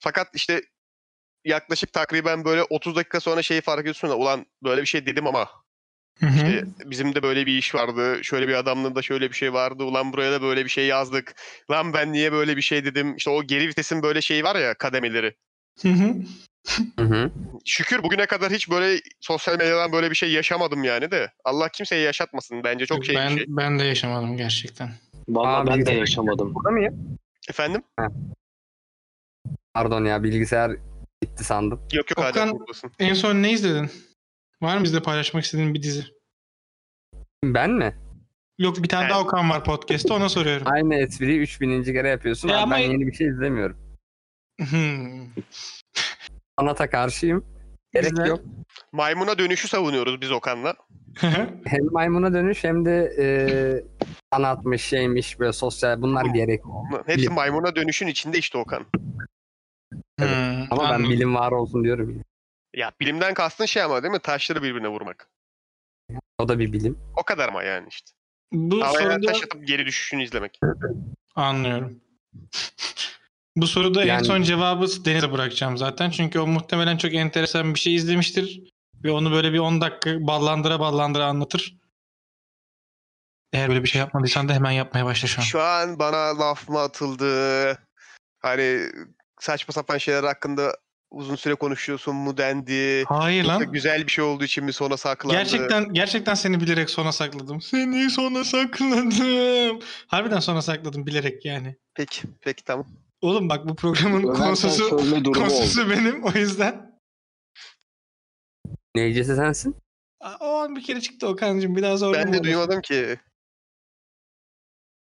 Speaker 1: Fakat işte yaklaşık takriben böyle 30 dakika sonra şeyi fark ediyorsun da ulan böyle bir şey dedim ama
Speaker 3: Hı hı.
Speaker 1: İşte bizim de böyle bir iş vardı. Şöyle bir adamla da şöyle bir şey vardı. Ulan buraya da böyle bir şey yazdık. Lan ben niye böyle bir şey dedim. İşte o geri vitesin böyle şeyi var ya kademeleri.
Speaker 3: Hı
Speaker 1: Şey,
Speaker 3: hı.
Speaker 2: Hı hı.
Speaker 1: Şükür bugüne kadar hiç böyle sosyal medyadan böyle bir şey yaşamadım yani de. Allah kimseye yaşatmasın. Bence çok şey
Speaker 3: ben,
Speaker 1: bir şey.
Speaker 3: ben de yaşamadım gerçekten.
Speaker 4: Vallahi
Speaker 2: Abi-
Speaker 4: ben de yaşamadım.
Speaker 2: Burada mıyım?
Speaker 1: Efendim?
Speaker 2: Pardon ya bilgisayar gitti sandım.
Speaker 1: Yok yok
Speaker 3: Okan-
Speaker 1: hala buradasın.
Speaker 3: En son ne izledin? Var mı bizde paylaşmak istediğin bir dizi?
Speaker 2: Ben mi?
Speaker 3: Yok bir
Speaker 2: Ee,
Speaker 3: tane
Speaker 1: Ben-
Speaker 3: daha Okan var podcast'te ona soruyorum.
Speaker 2: Aynı espriyi 3000. kere yapıyorsun.
Speaker 3: Ya
Speaker 2: Abi
Speaker 3: ama-
Speaker 2: Ben yeni bir şey izlemiyorum.
Speaker 3: Hmm.
Speaker 2: Sanata karşıyım. Gerek
Speaker 3: Güzel.
Speaker 2: yok.
Speaker 1: Maymuna dönüşü savunuyoruz biz Okan'la.
Speaker 2: Hem maymuna dönüş hem de e, sanatmış şeymiş böyle sosyal bunlar gerek.
Speaker 1: Hepsi
Speaker 2: Bilim.
Speaker 1: maymuna dönüşün içinde işte Okan.
Speaker 3: Hmm,
Speaker 2: Ama ben
Speaker 3: anladım.
Speaker 2: bilim var olsun diyorum. ya.
Speaker 1: Ya bilimden kastın şey ama değil mi? Taşları birbirine vurmak.
Speaker 2: O da bir bilim.
Speaker 1: O kadar ama yani işte.
Speaker 3: Bu
Speaker 1: Havaya
Speaker 3: soruda
Speaker 1: taş atıp geri düşüşünü izlemek.
Speaker 3: anlıyorum. Bu soruda en
Speaker 2: Yani-
Speaker 3: son cevabı Deniz'e bırakacağım zaten. Çünkü o muhtemelen çok enteresan bir şey izlemiştir. Ve onu böyle bir 10 dakika ballandıra ballandıra anlatır. Eğer böyle bir şey yapmadıysan da hemen yapmaya başla şu an.
Speaker 1: Şu an bana laf mı atıldı? Hani saçma sapan şeyler hakkında uzun süre konuşuyorsun mu dendi?
Speaker 3: Hayır
Speaker 1: Yoksa
Speaker 3: lan.
Speaker 1: Güzel bir şey olduğu için mi sonra saklandı?
Speaker 3: Gerçekten gerçekten seni bilerek sona sakladım. Seni sona sakladım. Harbiden sona sakladım bilerek yani.
Speaker 1: Peki, peki tamam.
Speaker 3: Oğlum bak bu programın
Speaker 4: Ömer'den
Speaker 3: konusu
Speaker 4: sövme durumu oldu.
Speaker 3: konusu benim o yüzden.
Speaker 2: Neycesi sensin?
Speaker 3: Aa, O an bir kere çıktı Okan'cığım bir daha zorlama.
Speaker 1: Ben de
Speaker 3: onu.
Speaker 1: duymadım ki.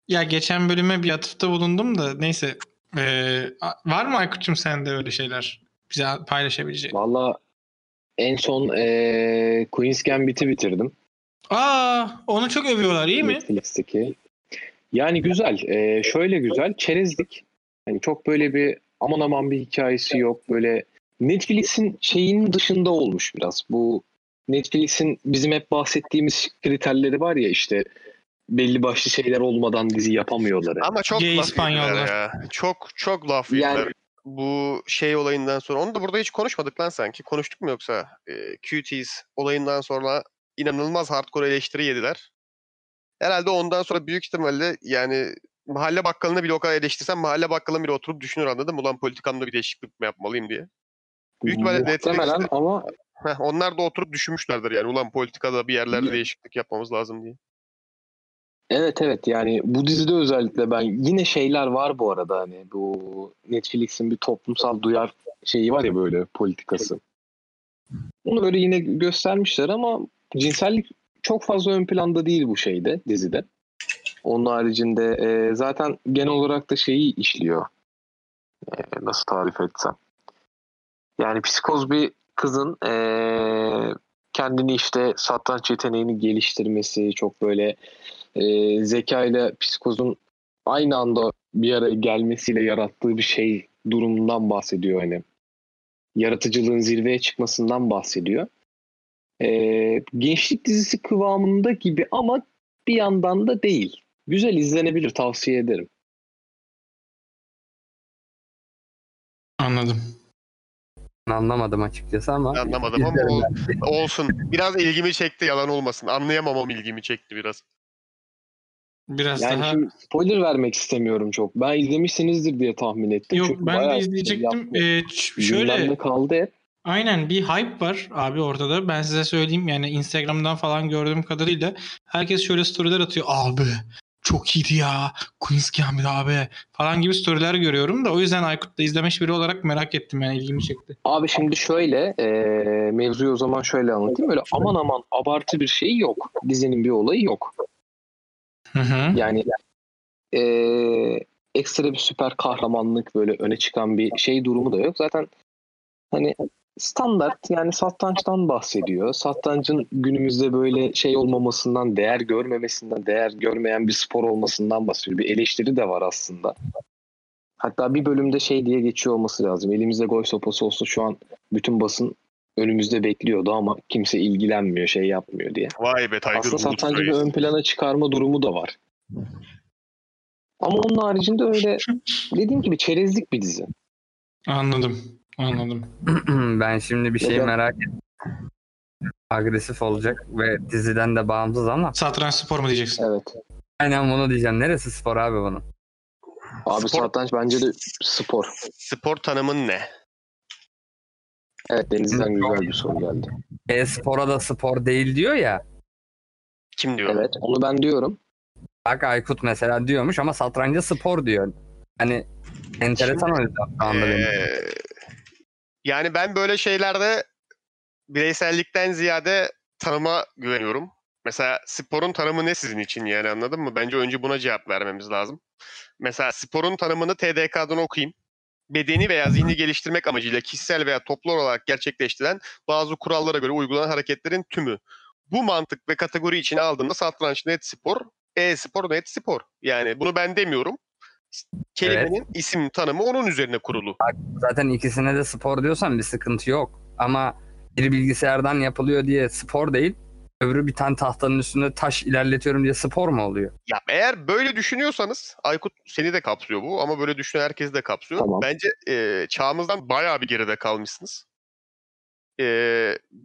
Speaker 3: Ya geçen bölüme bir atıfta bulundum da neyse. Ee, a- var mı Aykut'cum sende öyle şeyler? Bize paylaşabileceğin.
Speaker 4: Valla en son eee Queen's Gambit'i bitirdim.
Speaker 3: Aa onu çok övüyorlar iyi mi?
Speaker 4: Netflix'teki. Yani güzel. eee, şöyle güzel. Çerezlik. Hani çok böyle bir aman aman bir hikayesi yok. Böyle Netflix'in şeyin dışında olmuş biraz. Bu Netflix'in bizim hep bahsettiğimiz kriterleri var ya işte belli başlı şeyler olmadan dizi yapamıyorlar.
Speaker 1: Ama çok
Speaker 3: Gay
Speaker 1: laf yediler
Speaker 3: İspanyollar.
Speaker 1: ya. Çok çok laf
Speaker 4: Yani-
Speaker 1: yediler. Bu şey olayından sonra. Onu da burada hiç konuşmadık lan sanki. Konuştuk mu yoksa? Ee, QT's olayından sonra inanılmaz hardcore eleştiri yediler. Herhalde ondan sonra büyük ihtimalle yani mahalle bakkalını bile o kadar eleştirsem mahalle bakkalın bile oturup düşünür anladın mı? Ulan politikamda bir değişiklik mi yapmalıyım diye. büyük ihtimalle
Speaker 4: Muhtemelen
Speaker 1: Netflix'te-
Speaker 4: ama
Speaker 1: Heh, onlar da oturup düşünmüşlerdir yani. Ulan politikada bir yerlerde
Speaker 4: Ya.
Speaker 1: değişiklik yapmamız lazım diye.
Speaker 4: Evet evet yani bu dizide özellikle ben yine şeyler var bu arada hani bu Netflix'in bir toplumsal duyar şeyi var ya böyle politikası. Onu böyle yine göstermişler ama cinsellik çok fazla ön planda değil bu şeyde dizide. Onun haricinde e, zaten genel olarak da şeyi işliyor. E, nasıl tarif etsem. Yani psikoz bir kızın e, kendini işte satranç yeteneğini geliştirmesi çok böyle e, zeka ile psikozun aynı anda bir araya gelmesiyle yarattığı bir şey durumundan bahsediyor hani. Yaratıcılığın zirveye çıkmasından bahsediyor. E, gençlik dizisi kıvamında gibi ama bir yandan da değil. Güzel izlenebilir tavsiye ederim.
Speaker 3: Anladım.
Speaker 2: Ben anlamadım açıkçası ama.
Speaker 1: Anlamadım ama
Speaker 2: izlerim
Speaker 1: o-
Speaker 2: ben.
Speaker 1: olsun. Biraz ilgimi çekti yalan olmasın. Anlayamamam ilgimi çekti biraz.
Speaker 3: Biraz
Speaker 4: Yani
Speaker 3: daha.
Speaker 4: şimdi spoiler vermek istemiyorum çok. Ben izlemişsinizdir diye tahmin ettim.
Speaker 3: Yok
Speaker 4: Çünkü
Speaker 3: ben
Speaker 4: bayağı
Speaker 3: de
Speaker 4: şey
Speaker 3: izleyecektim.
Speaker 4: yaptı.
Speaker 3: Ee, ç- şöyle.
Speaker 4: Gündemde kaldı hep.
Speaker 3: Aynen bir hype var abi orada da. Ben size söyleyeyim yani Instagram'dan falan gördüğüm kadarıyla herkes şöyle storyler atıyor. Abi çok iyiydi ya. Queen's Gambit abi falan gibi storyler görüyorum da o yüzden Aykut'la izlemiş biri olarak merak ettim yani ilgimi çekti.
Speaker 4: Abi şimdi şöyle e, mevzuyu o zaman şöyle anlatayım. Böyle aman aman abartı bir şey yok. Dizinin bir olayı yok.
Speaker 3: Hı hı.
Speaker 4: Yani e, ekstra bir süper kahramanlık böyle öne çıkan bir şey durumu da yok. Zaten hani standart yani satrançtan bahsediyor. Satrancın günümüzde böyle şey olmamasından, değer görmemesinden, değer görmeyen bir spor olmasından bahsediyor. Bir eleştiri de var aslında. Hatta bir bölümde şey diye geçiyor olması lazım. Elimizde gol sopası olsa şu an bütün basın önümüzde bekliyordu ama kimse ilgilenmiyor, şey yapmıyor diye.
Speaker 1: Vay be Tiger
Speaker 4: Aslında
Speaker 1: Woods
Speaker 4: satrancı bir
Speaker 1: reis.
Speaker 4: ön plana çıkarma durumu da var. Ama onun haricinde öyle dediğim gibi çerezlik bir dizi.
Speaker 3: Anladım. Anladım.
Speaker 2: ben şimdi bir şey
Speaker 4: Neden?
Speaker 2: merak ettim. Agresif olacak ve diziden de bağımsız ama.
Speaker 3: Satranç spor mu diyeceksin?
Speaker 4: Evet.
Speaker 2: Aynen bunu diyeceğim. Neresi spor abi bunun?
Speaker 4: Abi
Speaker 1: Spor-
Speaker 4: satranç bence de spor.
Speaker 1: Spor tanımın ne?
Speaker 4: Evet Deniz'den güzel bir soru geldi.
Speaker 2: E-spora E, da spor değil diyor ya.
Speaker 1: Kim diyor?
Speaker 4: Evet onu ben diyorum.
Speaker 2: Bak Aykut mesela diyormuş ama satranca spor diyor. Hani enteresan o yüzden şu anda benim.
Speaker 1: Ee, yani ben böyle şeylerde bireysellikten ziyade tanıma güveniyorum. Mesela sporun tanımı ne sizin için yani anladın mı? Bence önce buna cevap vermemiz lazım. Mesela sporun tanımını TDK'dan okuyayım. Bedeni veya zihni geliştirmek amacıyla kişisel veya toplu olarak gerçekleştirilen bazı kurallara göre uygulanan hareketlerin tümü. Bu mantık ve kategori içine aldığında satranç net spor, e-spor net spor. Yani bunu ben demiyorum. Kelimenin isim tanımı onun üzerine kurulu.
Speaker 2: Zaten ikisine de spor diyorsan bir sıkıntı yok. Ama bir bilgisayardan yapılıyor diye spor değil. Öbürü bir tane tahtanın üstünde taş ilerletiyorum diye spor mu oluyor?
Speaker 1: Ya eğer böyle düşünüyorsanız Aykut seni de kapsıyor bu ama böyle düşünen herkesi de kapsıyor.
Speaker 4: Tamam.
Speaker 1: Bence e, çağımızdan bayağı bir geride kalmışsınız. E,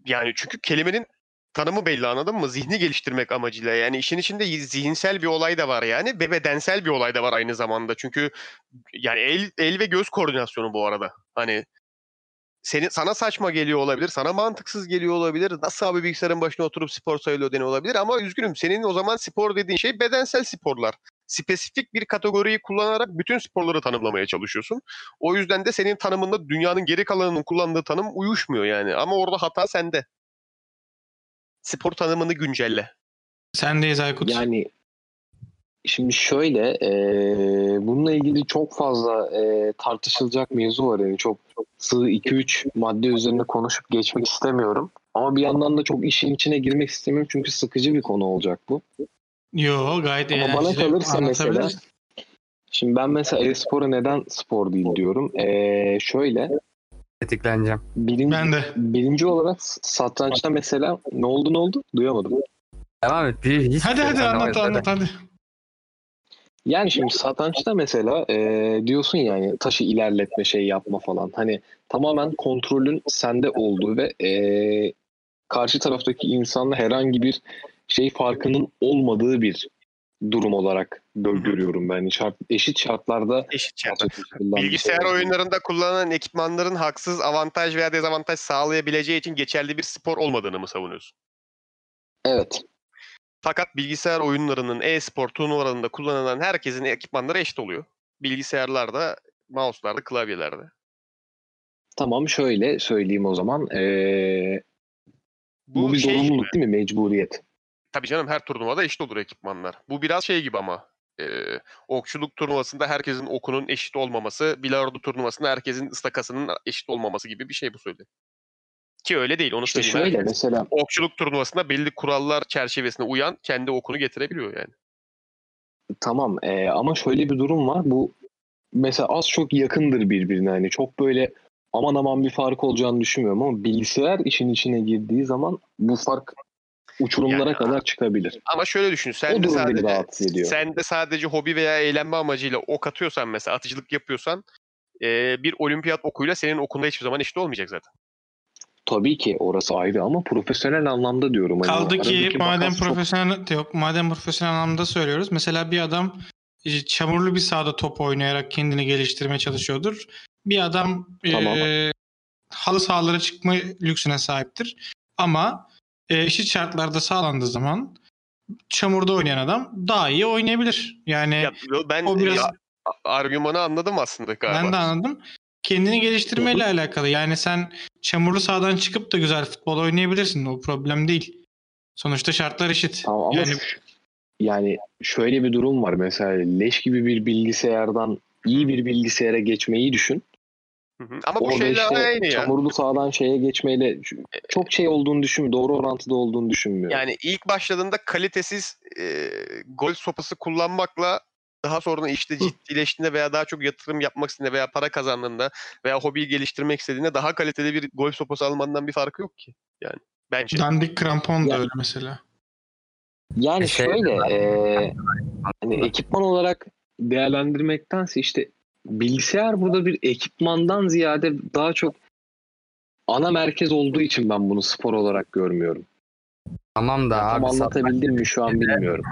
Speaker 1: yani çünkü kelimenin tanımı belli anladın mı? Zihni geliştirmek amacıyla yani işin içinde y- zihinsel bir olay da var yani ve bedensel bir olay da var aynı zamanda. Çünkü yani el, el ve göz koordinasyonu bu arada. Hani senin sana saçma geliyor olabilir, sana mantıksız geliyor olabilir. Nasıl abi bilgisayarın başına oturup spor sayılıyor deniyor olabilir ama üzgünüm senin o zaman spor dediğin şey bedensel sporlar. Spesifik bir kategoriyi kullanarak bütün sporları tanımlamaya çalışıyorsun. O yüzden de senin tanımında dünyanın geri kalanının kullandığı tanım uyuşmuyor yani. Ama orada hata sende. Spor tanımını güncelle.
Speaker 3: Sendeyiz Aykut.
Speaker 4: Yani şimdi şöyle eee, bununla ilgili çok fazla eee, tartışılacak mevzu var. Yani çok sığ 2-3 madde üzerine konuşup geçmek istemiyorum. Ama bir yandan da çok işin içine girmek istemiyorum çünkü sıkıcı bir konu olacak bu.
Speaker 3: Yo gayet
Speaker 4: Ama bana
Speaker 3: eğlenceli.
Speaker 4: kalırsa mesela-
Speaker 3: Anlatabiliriz.
Speaker 4: Şimdi ben mesela e-spora neden spor değil diyorum. Eee, şöyle
Speaker 2: Etikleneceğim.
Speaker 4: birinci,
Speaker 3: Ben de.
Speaker 4: birinci olarak satrançta mesela ne oldu ne oldu duyamadım.
Speaker 2: Devam et. Bir, hiç
Speaker 3: Hadi hadi
Speaker 2: Sen o
Speaker 3: anlat
Speaker 2: yüzden-
Speaker 3: anlat hadi.
Speaker 4: Yani şimdi satrançta mesela e, diyorsun yani taşı ilerletme şey yapma falan. Hani tamamen kontrolün sende olduğu ve e, karşı taraftaki insanla herhangi bir şey farkının olmadığı bir durum olarak gö- görüyorum ben. Hani Şart, eşit şartlarda
Speaker 1: Eşit
Speaker 4: gerçekleştirilen bir şey
Speaker 1: Bilgisayar
Speaker 4: olduğunu.
Speaker 1: oyunlarında kullanılan ekipmanların haksız avantaj veya dezavantaj sağlayabileceği için geçerli bir spor olmadığını mı savunuyorsun?
Speaker 4: Evet.
Speaker 1: Fakat bilgisayar oyunlarının e-spor turnuvalarında kullanılan herkesin ekipmanları eşit oluyor. Bilgisayarlarda, mouse'larda, klavyelerde.
Speaker 4: Tamam şöyle söyleyeyim o zaman. E, bu, bir
Speaker 1: şey
Speaker 4: zorunluluk
Speaker 1: gibi.
Speaker 4: değil mi? Mecburiyet.
Speaker 1: Tabii canım her turnuvada eşit olur ekipmanlar. Bu biraz şey gibi ama. e, okçuluk turnuvasında herkesin okunun eşit olmaması, bilardo turnuvasında herkesin ıstakasının eşit olmaması gibi bir şey bu söyle. Ki öyle değil onu
Speaker 4: İşte
Speaker 1: söyleyeyim.
Speaker 4: şöyle
Speaker 1: herkes.
Speaker 4: mesela
Speaker 1: Okçuluk turnuvasında belli kurallar çerçevesine uyan kendi okunu getirebiliyor yani.
Speaker 4: Tamam e, ama şöyle bir durum var. Bu mesela az çok yakındır birbirine. Hani çok böyle aman aman bir fark olacağını düşünmüyorum ama bilgisayar işin içine girdiği zaman bu fark uçurumlara
Speaker 1: Yani-
Speaker 4: kadar çıkabilir.
Speaker 1: Ama şöyle düşün.
Speaker 4: o
Speaker 1: Sen de
Speaker 4: durum beni
Speaker 1: sadece
Speaker 4: rahatsız ediyor.
Speaker 1: Sen de sadece hobi veya eğlenme amacıyla ok atıyorsan mesela atıcılık yapıyorsan eee, bir olimpiyat okuyla senin okunda hiçbir zaman eşit olmayacak zaten.
Speaker 4: Tabii ki orası ayrı ama profesyonel anlamda diyorum. Hani
Speaker 3: Kaldı ki
Speaker 4: aradaki
Speaker 3: madem
Speaker 4: makas çok-
Speaker 3: profesyonel yok madem profesyonel anlamda söylüyoruz. Mesela bir adam e, çamurlu bir sahada top oynayarak kendini geliştirmeye çalışıyordur. Bir adam e,
Speaker 4: Tamam.
Speaker 3: halı sahalara çıkma lüksüne sahiptir. Ama e, eşit şartlarda sağlandığı zaman çamurda oynayan adam daha iyi oynayabilir. Yani
Speaker 1: Ya, yo, ben
Speaker 3: o biraz
Speaker 1: ya, a- argümanı anladım aslında galiba.
Speaker 3: ben de anladım. Kendini geliştirmeyle alakalı. Yani sen çamurlu sahadan çıkıp da güzel futbol oynayabilirsin. O problem değil. Sonuçta şartlar eşit.
Speaker 4: Tamam ama
Speaker 3: Yani-
Speaker 4: şu- yani şöyle bir durum var. Mesela leş gibi bir bilgisayardan iyi bir bilgisayara geçmeyi düşün.
Speaker 1: Hı hı. Ama bu
Speaker 4: Orada
Speaker 1: şeyler
Speaker 4: işte
Speaker 1: aynı ya.
Speaker 4: çamurlu sahadan şeye geçmeyle çok şey olduğunu düşün, doğru orantıda olduğunu düşünmüyorum.
Speaker 1: Yani ilk başladığında kalitesiz e, gol sopası kullanmakla daha sonra işte ciddileştiğinde veya daha çok yatırım yapmak istediğinde veya para kazandığında veya hobiyi geliştirmek istediğinde daha kaliteli bir golf sopası almandan bir farkı yok ki. Yani bence.
Speaker 3: Dandik krampon da
Speaker 4: Ya-
Speaker 3: öyle mesela.
Speaker 4: Yani
Speaker 2: Şey-
Speaker 4: şöyle eee, hani ekipman olarak değerlendirmektense işte bilgisayar burada bir ekipmandan ziyade daha çok ana merkez olduğu için ben bunu spor olarak görmüyorum.
Speaker 2: Tamam da
Speaker 4: Tam
Speaker 2: abi sa-
Speaker 4: anlatabildim mi şu an bilmiyorum.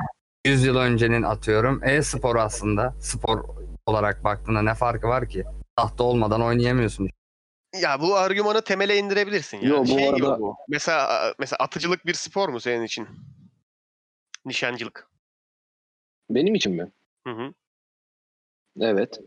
Speaker 2: 100 yıl öncenin atıyorum e-spor aslında spor olarak baktığında ne farkı var ki? Tahta olmadan oynayamıyorsun.
Speaker 1: Ya bu argümanı temele indirebilirsin. Yani.
Speaker 4: Yo, bu
Speaker 1: Şey gibi
Speaker 4: arada-
Speaker 1: bu. Mesela mesela atıcılık bir spor mu senin için? Nişancılık.
Speaker 4: Benim için mi?
Speaker 1: Hı hı.
Speaker 4: Evet.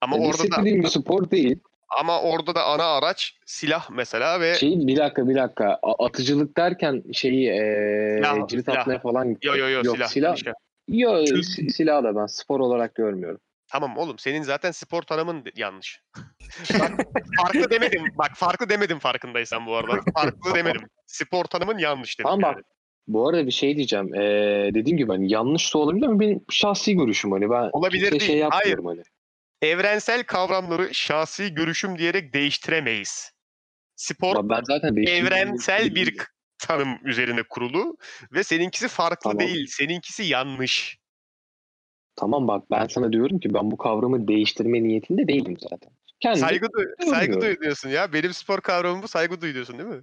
Speaker 1: Ama
Speaker 4: Ama
Speaker 1: orada da
Speaker 4: bir spor değil.
Speaker 1: ama orada da ana araç silah mesela ve
Speaker 4: Şey bir dakika bir dakika A- atıcılık derken şeyi eee
Speaker 1: Silah,
Speaker 4: cirit
Speaker 1: silah.
Speaker 4: atmaya falan
Speaker 1: yo yo şey. yo
Speaker 4: yok
Speaker 1: silah.
Speaker 4: silah
Speaker 1: nişan.
Speaker 4: yo
Speaker 3: Çünkü-
Speaker 4: si- silahı da ben spor olarak görmüyorum.
Speaker 1: Tamam oğlum senin zaten spor tanımın de- yanlış. Bak, farklı demedim. Bak farklı demedim farkındaysan bu arada. Farklı demedim. Spor tanımın yanlış dedim.
Speaker 4: Tamam
Speaker 1: yani.
Speaker 4: bak bu arada bir şey diyeceğim. Ee, dediğim gibi hani yanlış da olabilir ama benim şahsi görüşüm hani ben
Speaker 1: Olabilir
Speaker 4: kimseye
Speaker 1: değil.
Speaker 4: şey
Speaker 1: Hayır.
Speaker 4: yapmıyorum hani.
Speaker 1: Evrensel kavramları şahsi görüşüm diyerek değiştiremeyiz. Spor
Speaker 4: Ben- Ben zaten değişim-
Speaker 1: evrensel bir k- tanım üzerine kurulu ve seninkisi farklı
Speaker 4: Tamam.
Speaker 1: değil. Seninkisi yanlış.
Speaker 4: Tamam bak ben sana diyorum ki ben bu kavramı değiştirme niyetinde değilim zaten. Kendi
Speaker 1: Saygı, du- saygı
Speaker 4: Doğru.
Speaker 1: duyuyorsun ya. Benim spor kavramım bu. Saygı duyuyorsun değil mi?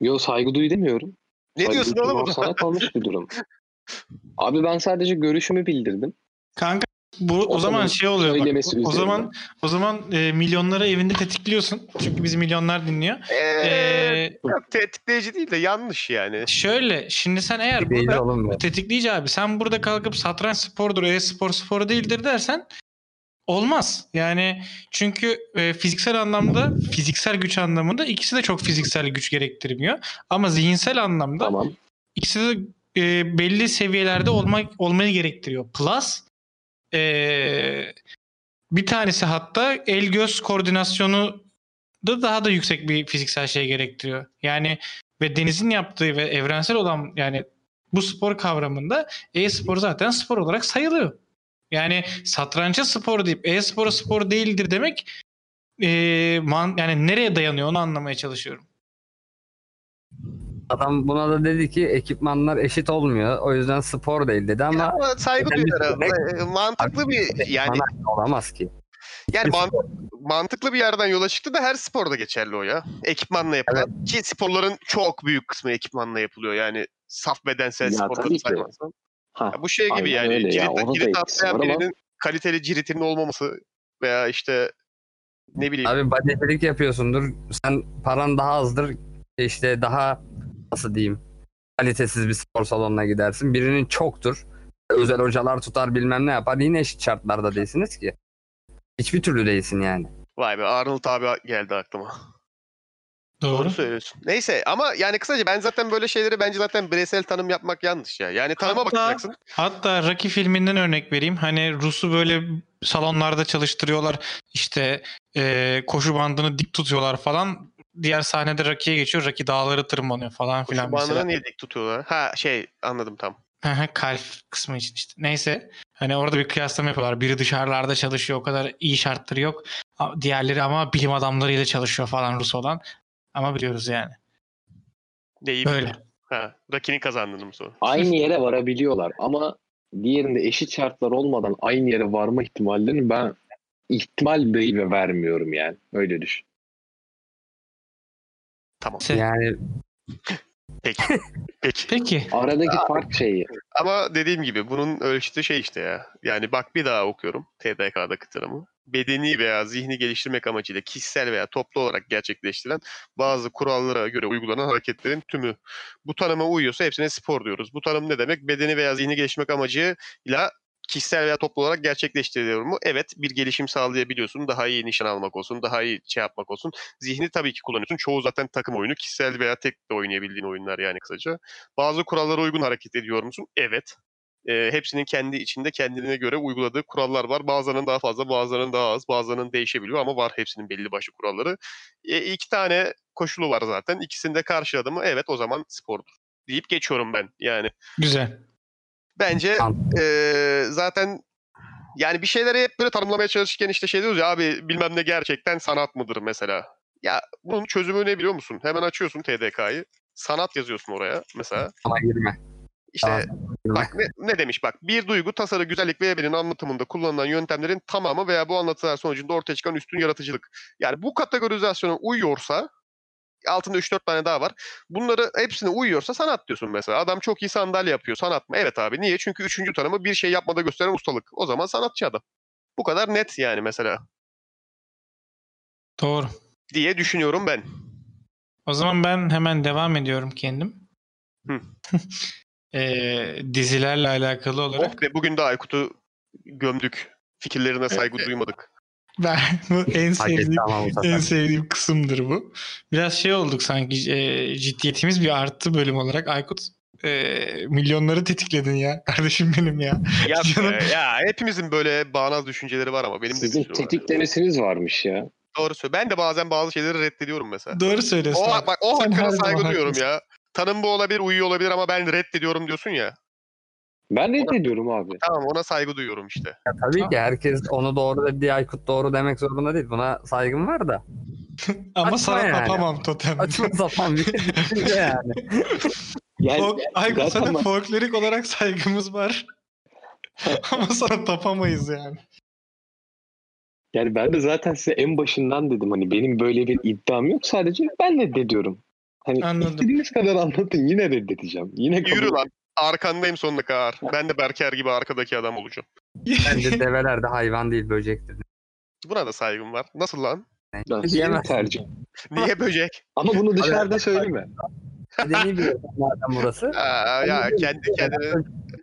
Speaker 4: yo saygı duy demiyorum.
Speaker 1: Ne
Speaker 4: Saygı
Speaker 1: diyorsun
Speaker 4: duy-
Speaker 1: oğlum?
Speaker 4: o Sana kalmış bir durum. Abi ben sadece görüşümü bildirdim.
Speaker 3: Kanka bu o,
Speaker 4: O
Speaker 3: zaman
Speaker 4: zaman
Speaker 3: şey oluyor bak.
Speaker 4: söylemesi
Speaker 3: O
Speaker 4: üzerine.
Speaker 3: zaman o zaman e, milyonları evinde tetikliyorsun. Çünkü bizi milyonlar dinliyor.
Speaker 1: Eee,
Speaker 3: E,
Speaker 1: yok, tetikleyici değil de yanlış yani.
Speaker 3: şöyle şimdi sen eğer
Speaker 2: Değil
Speaker 3: burada
Speaker 2: oğlum bu.
Speaker 3: tetikleyici abi sen burada kalkıp satranç spordur, e-spor spor değildir dersen olmaz. Yani çünkü e, fiziksel anlamda, fiziksel güç anlamında ikisi de çok fiziksel güç gerektirmiyor. Ama zihinsel anlamda
Speaker 4: Tamam.
Speaker 3: ikisi de e, belli seviyelerde olmak olmayı gerektiriyor. Plus e, bir tanesi hatta el göz koordinasyonu da daha da yüksek bir fiziksel şey gerektiriyor. Yani ve Deniz'in yaptığı ve evrensel olan yani bu spor kavramında e-spor zaten spor olarak sayılıyor. Yani satranca spor deyip e-spora spor değildir demek e, man, yani nereye dayanıyor onu anlamaya çalışıyorum.
Speaker 2: Adam buna da dedi ki ekipmanlar eşit olmuyor. O yüzden spor değil dedi ama
Speaker 1: Ama saygı
Speaker 2: Efendim,
Speaker 1: duyuyorum.
Speaker 2: ne-
Speaker 1: Eee, Mantıklı bir yani
Speaker 2: ekipman olamaz ki.
Speaker 1: yani
Speaker 2: bir
Speaker 1: man- mantıklı bir yerden yola çıktı da her sporda geçerli o ya. Ekipmanla yapılan ki sporların çok büyük kısmı ekipmanla yapılıyor. Yani saf bedensel
Speaker 4: Ya
Speaker 1: sporları
Speaker 4: tabii ki.
Speaker 1: saymazsan.
Speaker 4: Ha,
Speaker 1: Ya bu şey gibi
Speaker 4: aynen
Speaker 1: yani
Speaker 4: öyle ya.
Speaker 1: cirit,
Speaker 4: Onun da
Speaker 1: cirit
Speaker 4: etkisi
Speaker 1: atlayan
Speaker 4: var ama-
Speaker 1: birinin kaliteli ciritinin olmaması veya işte ne bileyim
Speaker 2: Abi badecilik yapıyorsundur. Sen paran daha azdır. İşte daha nasıl diyeyim kalitesiz bir spor salonuna gidersin. Birinin çoktur. Özel hocalar tutar bilmem ne yapar. Yine eşit şartlarda değilsiniz ki. Hiçbir türlü değilsin yani.
Speaker 1: vay be Arnold abi geldi aklıma.
Speaker 3: Doğru.
Speaker 1: Doğru söylüyorsun. Neyse ama yani kısaca ben zaten böyle şeyleri bence zaten bireysel tanım yapmak yanlış ya. Yani tanıma
Speaker 3: Hatta-
Speaker 1: bakacaksın.
Speaker 3: Hatta Rocky filminden örnek vereyim. Hani Rus'u böyle salonlarda çalıştırıyorlar. İşte eee, koşu bandını dik tutuyorlar falan. Diğer sahnede Rocky'ye geçiyor. Rocky dağları tırmanıyor falan filan
Speaker 1: Şu bandını
Speaker 3: mesela.
Speaker 1: niye dik tutuyorlar? Ha şey anladım tam.
Speaker 3: Hı hı, Kalf kısmı için işte. Neyse. Hani orada bir kıyaslama yapıyorlar. Biri dışarılarda çalışıyor. O kadar iyi şartları yok. A- Diğerleri ama bilim adamlarıyla çalışıyor falan Rus olan. Ama biliyoruz yani.
Speaker 1: Değil.
Speaker 3: Böyle.
Speaker 1: Ha, rakini kazandın mı sonra?
Speaker 4: aynı yere varabiliyorlar ama diğerinde eşit şartlar olmadan aynı yere varma ihtimallerini ben ihtimal dahi ve vermiyorum yani. Öyle düşün.
Speaker 1: Tamam.
Speaker 3: Neyse.
Speaker 2: Yani
Speaker 1: Peki. Peki.
Speaker 3: Peki.
Speaker 4: Aradaki fark şeyi.
Speaker 1: Ama dediğim gibi bunun ölçütü şey işte ya. Yani bak bir daha okuyorum TDK'daki tanımı. bedeni veya zihni geliştirmek amacıyla kişisel veya toplu olarak gerçekleştirilen bazı kurallara göre uygulanan hareketlerin tümü. Bu tanıma uyuyorsa hepsine spor diyoruz. Bu tanım ne demek? Bedeni veya zihni geliştirmek amacıyla kişisel veya toplu olarak gerçekleştiriliyor mu? Evet bir gelişim sağlayabiliyorsun. Daha iyi nişan almak olsun, daha iyi şey yapmak olsun. Zihni tabii ki kullanıyorsun. Çoğu zaten takım oyunu. Kişisel veya tek de oynayabildiğin oyunlar yani kısaca. Bazı kurallara uygun hareket ediyor musun? Evet. Ee, hepsinin kendi içinde kendine göre uyguladığı kurallar var. Bazılarının daha fazla, bazılarının daha az, bazılarının değişebiliyor ama var hepsinin belli başlı kuralları. E, iki tane koşulu var zaten. İkisini de karşıladı mı? Evet o zaman spordur deyip geçiyorum ben. Yani
Speaker 3: Güzel.
Speaker 1: bence ee, zaten yani bir şeyleri hep böyle tanımlamaya çalışırken işte şey diyoruz ya abi bilmem ne gerçekten sanat mıdır mesela. Ya bunun çözümü ne biliyor musun? Hemen açıyorsun TDK'yı. Sanat yazıyorsun oraya mesela.
Speaker 2: Sana girme.
Speaker 1: İşte
Speaker 2: Sanat mıdır?
Speaker 1: bak ne, ne demiş bak. Bir duygu, tasarı, güzellik veya birinin anlatımında kullanılan yöntemlerin tamamı veya bu anlatılar sonucunda ortaya çıkan üstün yaratıcılık. Yani bu kategorizasyona uyuyorsa altında 3-4 tane daha var. Bunları hepsine uyuyorsa sanat diyorsun mesela. Adam çok iyi sandalye yapıyor. Sanat mı? Evet abi. Niye? Çünkü üçüncü tanımı bir şey yapmada gösteren ustalık. O zaman sanatçı adam. Bu kadar net yani mesela
Speaker 3: Doğru.
Speaker 1: diye düşünüyorum ben.
Speaker 3: O zaman ben hemen devam ediyorum kendim.
Speaker 1: Hı.
Speaker 3: Ee, dizilerle alakalı olarak.
Speaker 1: Oh be bugün de Aykut'u gömdük. Fikirlerine saygı duymadık.
Speaker 3: Ben
Speaker 2: Oh.
Speaker 3: bu en
Speaker 2: Hak etti
Speaker 3: sevdiğim
Speaker 2: ama bu
Speaker 3: en
Speaker 2: sefer.
Speaker 3: sevdiğim kısımdır bu. Biraz şey olduk sanki e, ciddiyetimiz bir arttı bölüm olarak. Aykut e, milyonları tetikledin ya. Kardeşim benim ya.
Speaker 1: ya,
Speaker 3: Canım.
Speaker 1: be, e, ya hepimizin böyle bağnaz düşünceleri var ama benim de
Speaker 4: Sizin
Speaker 1: bir sürü var.
Speaker 4: tetiklemesiniz varmış ya.
Speaker 1: Doğru söylüyor. Ben de bazen bazı şeyleri reddediyorum mesela.
Speaker 3: Doğru söylüyorsun.
Speaker 1: O,
Speaker 3: Aykut.
Speaker 1: bak o
Speaker 3: Sen her
Speaker 1: hakkına
Speaker 3: zaman
Speaker 1: saygı duyuyorum
Speaker 3: haklısın.
Speaker 1: ya. Tanım bu olabilir, uyuyor olabilir ama ben reddediyorum diyorsun ya.
Speaker 4: Ben reddediyorum abi.
Speaker 1: Tamam ona saygı duyuyorum işte.
Speaker 2: Ya tabii ki herkes onu doğru dedi diye Aykut doğru demek zorunda değil. Buna saygım var da.
Speaker 3: Ama
Speaker 2: Açma
Speaker 3: sana
Speaker 2: yani.
Speaker 3: tapamam totem.
Speaker 2: Açma sapan bir şey düşünce yani.
Speaker 4: Yani
Speaker 3: Folk, Aykut
Speaker 4: zaten
Speaker 3: sana
Speaker 4: bak-
Speaker 3: folklorik olarak saygımız var. Ama sana tapamayız yani.
Speaker 4: Yani ben de zaten size en başından dedim hani benim böyle bir iddiam yok sadece ben reddediyorum. Hani
Speaker 3: Anladım.
Speaker 4: istediğiniz kadar anlatın yine reddedeceğim. Yine kabul-
Speaker 1: Yürü lan. Arkandayım sonuna kadar. Ben de Berker gibi arkadaki adam olacağım.
Speaker 2: Bence develer de hayvan değil böcektir.
Speaker 1: Buna da saygım var. Nasıl lan?
Speaker 4: Lan senin
Speaker 2: Yiyemezsin.
Speaker 4: tercih.
Speaker 1: Niye böcek?
Speaker 4: Ama bunu dışarıda
Speaker 2: Hadi.
Speaker 4: söyleme.
Speaker 2: Medeni bir ortam madem burası.
Speaker 1: Aa, ya kendi kendine.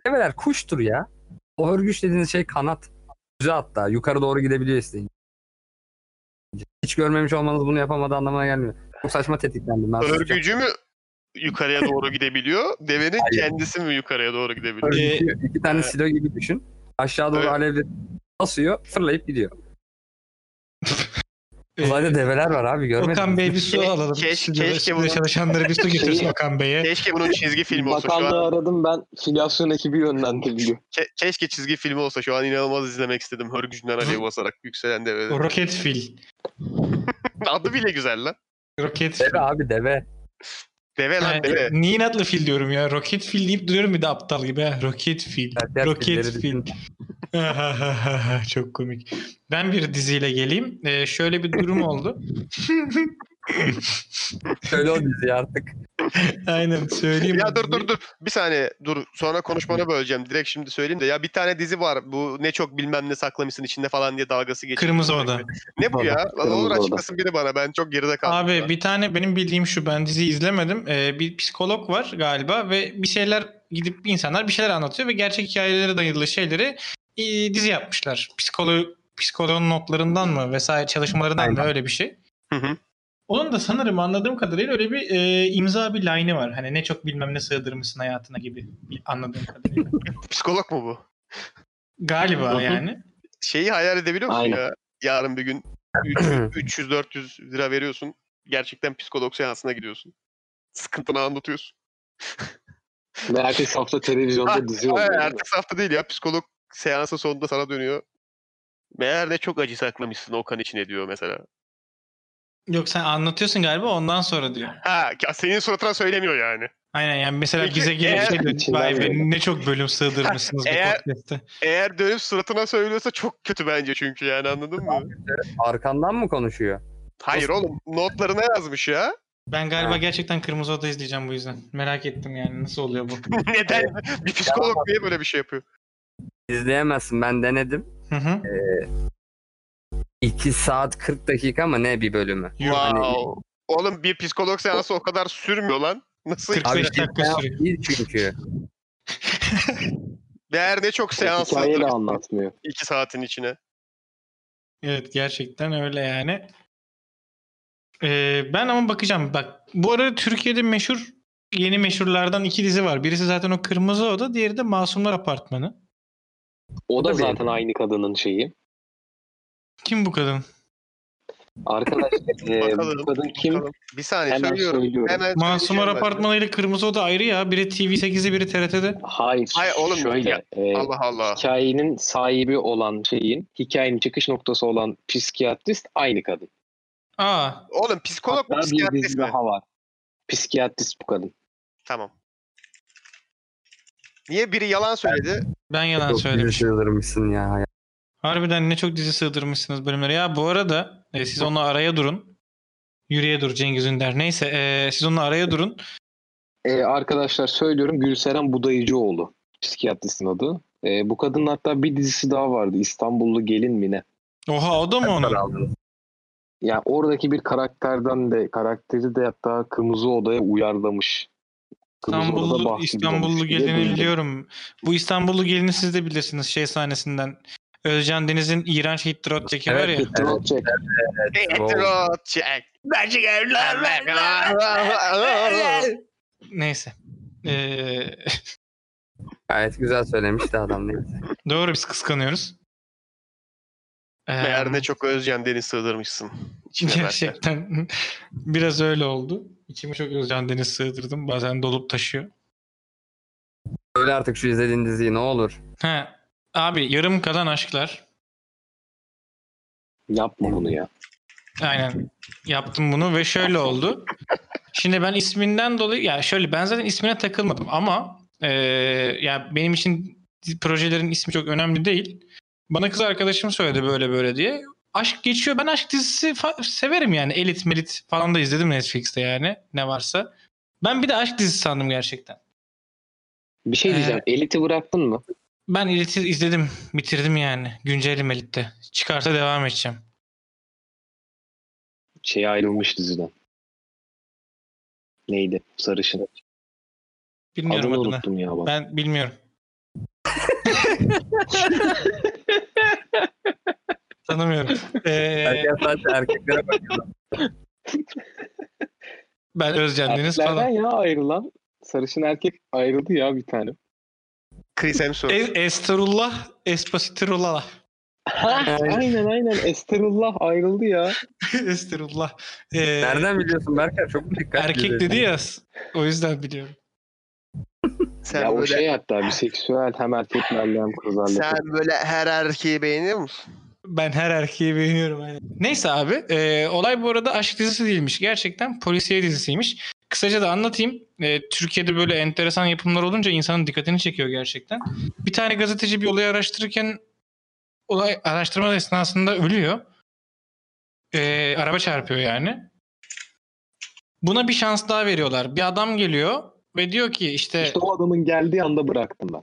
Speaker 2: Develer kuştur ya. O örgüç dediğiniz şey kanat. Güzel hatta. Yukarı doğru gidebiliyor isteyin. Hiç görmemiş olmanız bunu yapamadığı anlamına gelmiyor. Çok saçma tetiklendim ben.
Speaker 1: Örgücü mü yukarıya doğru gidebiliyor? Devenin
Speaker 2: Hayır.
Speaker 1: kendisi mi yukarıya doğru gidebiliyor?
Speaker 2: Örgücü iki tane silo gibi düşün. Aşağı doğru
Speaker 1: Evet.
Speaker 2: alevli basıyor, fırlayıp gidiyor.
Speaker 3: Ee,
Speaker 2: Uzayda develer var abi görmedin.
Speaker 3: Okan Bey bir su
Speaker 1: Keşke-
Speaker 3: alalım.
Speaker 1: keşke-
Speaker 3: Stüdyoda-
Speaker 1: keşke
Speaker 3: stüdyoda
Speaker 1: bunu-
Speaker 3: çalışanlara bir su getirsin
Speaker 4: Şeyi-
Speaker 3: Okan Bey'e.
Speaker 1: Keşke bunun çizgi filmi olsa şu an.
Speaker 4: Bakanlığı aradım ben filyasyon ekibi yönlendiriliyor.
Speaker 1: Ke- keşke çizgi filmi olsa şu an inanılmaz izlemek istedim. Hörgücünden alev basarak yükselen develeri.
Speaker 3: Roket fil.
Speaker 1: Adı bile güzel lan.
Speaker 3: Roket fil.
Speaker 2: Deve abi deve.
Speaker 1: Deve lan
Speaker 3: Yani,
Speaker 1: deve.
Speaker 3: Niye adlı fil diyorum ya? Roket fil deyip duruyorum bir de aptal gibi. ha. Roket fil.
Speaker 2: Berker
Speaker 3: Roket
Speaker 2: filmleri
Speaker 3: fil. Çok komik. Ben bir diziyle geleyim. Ee, şöyle bir durum oldu.
Speaker 2: Şöyle o dizi artık.
Speaker 3: Aynen söyleyeyim.
Speaker 1: Ya dur dur dur. Bir saniye dur. Sonra konuşmanı böleceğim. Direkt şimdi söyleyeyim de. Ya bir tane dizi var. Bu ne çok bilmem ne saklamışsın içinde falan diye dalgası geçiyor.
Speaker 3: Kırmızı Oda.
Speaker 1: Ne bu ya? Lan olur
Speaker 4: Kırmızı Oda.
Speaker 1: açıklasın biri bana. Ben çok geride kaldım.
Speaker 3: Abi bir tane benim bildiğim şu ben diziyi izlemedim. Ee, bir psikolog var galiba ve bir şeyler gidip insanlar bir şeyler anlatıyor ve gerçek hikayelere dayalı şeyleri e, dizi yapmışlar. Psikolo psikoloğun notlarından mı vesaire çalışmalarından mı
Speaker 2: Aynen.
Speaker 3: öyle bir şey.
Speaker 1: Hı hı.
Speaker 3: Onun da sanırım anladığım kadarıyla öyle bir e, imza bir line'ı var. Hani ne çok bilmem ne sığdırmışsın hayatına gibi bir- anladığım kadarıyla.
Speaker 1: Psikolog mu bu?
Speaker 4: Hı
Speaker 3: Galiba
Speaker 4: hı.
Speaker 3: yani.
Speaker 1: Şeyi hayal edebiliyor musun
Speaker 4: Aynen.
Speaker 1: ya? Yarın bir gün 300-400 lira veriyorsun. Gerçekten psikolog seansına gidiyorsun. Sıkıntını anlatıyorsun.
Speaker 4: Ve ertesi hafta televizyonda dizi
Speaker 1: Ha,
Speaker 4: oluyor.
Speaker 1: ertesi hafta değil ya. Psikolog seansa sonunda sana dönüyor. Meğer ne çok acı saklamışsın Okan içine diyor mesela.
Speaker 3: Yok sen anlatıyorsun galiba ondan sonra diyor.
Speaker 1: Ha ya senin suratına söylemiyor yani.
Speaker 3: Aynen yani mesela
Speaker 1: Peki,
Speaker 3: bize gelip
Speaker 1: eğer-
Speaker 3: şey diyor,
Speaker 4: İçinden
Speaker 3: Vay be,
Speaker 4: böyle."
Speaker 3: ne çok bölüm sığdırmışsınız bu
Speaker 1: Eğer-
Speaker 3: podcast'te.
Speaker 1: Eğer dönüp suratına söylüyorsa çok kötü bence çünkü yani anladın mı?
Speaker 2: Arkandan mı konuşuyor?
Speaker 1: Hayır oğlum notlarına yazmış ya.
Speaker 3: Ben galiba
Speaker 2: Ha.
Speaker 3: gerçekten Kırmızı Oda izleyeceğim bu yüzden. Merak ettim yani nasıl oluyor bu.
Speaker 1: Neden? Bir psikolog niye böyle bir şey yapıyor?
Speaker 2: İzleyemezsin ben denedim.
Speaker 3: Hı hı.
Speaker 2: 2 saat 40 dakika mı ne bir bölümü?
Speaker 1: Wow. Oğlum bir psikolog seansı o kadar sürmüyor lan. Nasıl?
Speaker 3: Kırk-
Speaker 2: Abi
Speaker 3: 45
Speaker 2: işte
Speaker 3: dakika sürüyor.
Speaker 2: değil çünkü.
Speaker 1: Değer ne çok seans
Speaker 4: Hikaye de
Speaker 1: sığdırır
Speaker 4: anlatmıyor.
Speaker 1: iki saatin içine.
Speaker 3: Evet gerçekten öyle yani. Ee, ben ama bakacağım. Bak bu arada Türkiye'de meşhur yeni meşhurlardan iki dizi var. Birisi zaten o Kırmızı Oda, diğeri de Masumlar Apartmanı.
Speaker 4: O da
Speaker 2: Tabii.
Speaker 4: zaten aynı kadının şeyi.
Speaker 3: Kim bu kadın?
Speaker 4: Arkadaş e,
Speaker 1: Bakalım,
Speaker 4: bu kadın kim?
Speaker 1: Bakalım. Bir saniye
Speaker 4: Hemen
Speaker 1: söylüyorum.
Speaker 4: söylüyorum.
Speaker 1: Hemen
Speaker 3: Masumlar
Speaker 1: söyleyeceğim ben.
Speaker 3: Apartmanı ile Kırmızı Oda ayrı ya. Biri TV8'i, biri TRT'de.
Speaker 4: Hayır.
Speaker 1: Hayır oğlum, ya,
Speaker 4: şöyle. e,
Speaker 1: Allah Allah.
Speaker 4: hikayenin sahibi olan şeyin, hikayenin çıkış noktası olan psikiyatrist aynı kadın.
Speaker 3: Aa,
Speaker 1: Oğlum psikolog mu
Speaker 4: Hatta bir
Speaker 1: psikiyatrist
Speaker 4: dizi
Speaker 1: mi?
Speaker 4: daha var. Psikiyatrist bu kadın.
Speaker 1: Tamam. Niye biri yalan söyledi?
Speaker 3: ben yalan
Speaker 2: Çok
Speaker 3: söyledim.
Speaker 2: üzülürmüşsün ya.
Speaker 3: Harbiden ne çok dizi sığdırmışsınız bölümlere. Ya bu arada e, siz onu araya durun. Yürüye dur Cengiz Ünder. Neyse e, siz onu araya durun.
Speaker 4: E, arkadaşlar söylüyorum Gülseren Budayıcıoğlu. Psikiyatristin adı. E, bu kadının hatta bir dizisi daha vardı. İstanbullu Gelin mi ne?
Speaker 3: Oha o da mı onun?
Speaker 2: Aldınız.
Speaker 4: Yani oradaki bir karakterden de karakteri de hatta Kırmızı Oda'ya uyarlamış. Kırmızı Oda'da
Speaker 3: İstanbullu,
Speaker 4: bahsediyormuş
Speaker 1: şey
Speaker 3: İstanbullu
Speaker 4: diye
Speaker 3: gelini
Speaker 4: duydum.
Speaker 3: biliyorum. Bu İstanbullu gelini siz de bilirsiniz şey sahnesinden. Özcan Deniz'in iğrenç hit trot çeki var ya.
Speaker 2: Evet,
Speaker 4: Petrol Jack.
Speaker 1: Petrol check. Magic
Speaker 3: Neyse. Ee,
Speaker 2: Gayet güzel söylemişti adam değil.
Speaker 3: doğru biz kıskanıyoruz. Ee,
Speaker 1: Meğer ne çok Özcan Deniz sığdırmışsın. İçine Gerçek.
Speaker 3: Gerçekten biraz öyle oldu. İçimi çok Özcan Deniz sığdırdım. Bazen dolup taşıyor.
Speaker 2: Öyle artık şu izlediğin diziyi ne olur.
Speaker 3: He. Abi yarım kalan aşklar.
Speaker 4: Yapma bunu ya.
Speaker 3: Aynen. Yaptım bunu ve şöyle oldu. Şimdi ben isminden dolayı ya şöyle ben zaten ismine takılmadım ama eee, ya benim için projelerin ismi çok önemli değil. Bana kız arkadaşım söyledi böyle böyle diye. Aşk geçiyor. Ben aşk dizisi fa- severim yani. Elit melit falan da izledim Netflix'te yani. Ne varsa. Ben bir de aşk dizisi sandım gerçekten.
Speaker 4: Bir şey diyeceğim.
Speaker 3: Ee.
Speaker 4: Elit'i bıraktın mı?
Speaker 3: Ben Elit'i izledim. Bitirdim yani. Güncelim Elit'te. Çıkarsa devam edeceğim.
Speaker 4: Şeye Şey, ayrılmış diziden. Neydi? Sarışın.
Speaker 3: Bilmiyorum
Speaker 4: Adını
Speaker 3: adını.
Speaker 4: unuttum ya bak.
Speaker 3: Ben bilmiyorum. Tanımıyorum. Ee,
Speaker 2: Erkek sadece erkeklere bakıyor.
Speaker 3: ben Özcan Deniz
Speaker 4: Erkeklerden
Speaker 3: falan.
Speaker 4: ya ayrılan. Sarışın erkek ayrıldı ya bir tane.
Speaker 1: Chris Hemsworth.
Speaker 3: E- Esterullah, Espasitirullah.
Speaker 4: aynen aynen. Esterullah ayrıldı ya.
Speaker 3: Esterullah. Ee,
Speaker 2: Nereden biliyorsun Berker? Çok mu dikkat
Speaker 3: Erkek
Speaker 2: ediyorsun?
Speaker 3: dedi ya. O yüzden biliyorum.
Speaker 1: sen,
Speaker 4: ya o
Speaker 1: böyle,
Speaker 4: şey hatta bir seksüel hem erkeklerle hem kızlarla.
Speaker 1: sen böyle her erkeği beğeniyor musun?
Speaker 3: Ben her erkeği beğeniyorum. aynen. Neyse abi. e, olay bu arada aşk dizisi değilmiş. Gerçekten polisiye dizisiymiş. Kısaca da anlatayım. E, Türkiye'de böyle enteresan yapımlar olunca insanın dikkatini çekiyor gerçekten. Bir tane gazeteci bir olayı araştırırken olay araştırma esnasında ölüyor. E, araba çarpıyor yani. Buna bir şans daha veriyorlar. Bir adam geliyor ve diyor ki işte...
Speaker 4: İşte o adamın geldiği anda bıraktım ben.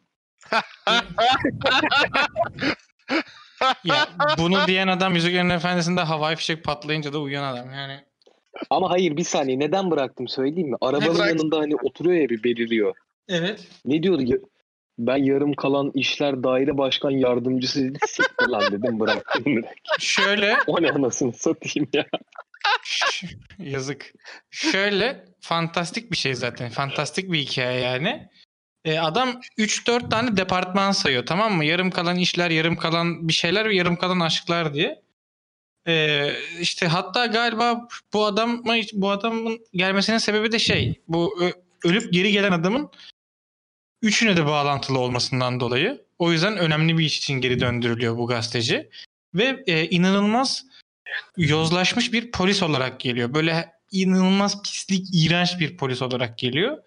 Speaker 3: ya, bunu diyen adam Yüzüklerin Efendisi'nde havai fişek patlayınca da uyuyan adam yani.
Speaker 4: Ama hayır bir saniye neden bıraktım söyleyeyim mi?
Speaker 1: Ne
Speaker 4: Arabanın
Speaker 1: bıraktın?
Speaker 4: yanında hani oturuyor ya bir belirliyor.
Speaker 3: Evet.
Speaker 4: Ne diyordu? Ya- Ben yarım kalan işler daire başkan yardımcısı dedi. Siktir lan dedim bıraktım. direkt.
Speaker 3: Şöyle
Speaker 4: o ne anasını satayım ya.
Speaker 3: Ş- Yazık. Şöyle fantastik bir şey zaten. Fantastik bir hikaye yani. E, adam 3-4 tane departman sayıyor tamam mı? Yarım kalan işler, yarım kalan bir şeyler ve yarım kalan aşklar diye. E, işte hatta galiba bu adam bu adamın gelmesinin sebebi de şey. Bu ö- ölüp geri gelen adamın üçüne de bağlantılı olmasından dolayı. O yüzden önemli bir iş için geri döndürülüyor bu gazeteci. Ve e, inanılmaz yozlaşmış bir polis olarak geliyor. Böyle inanılmaz pislik, iğrenç bir polis olarak geliyor.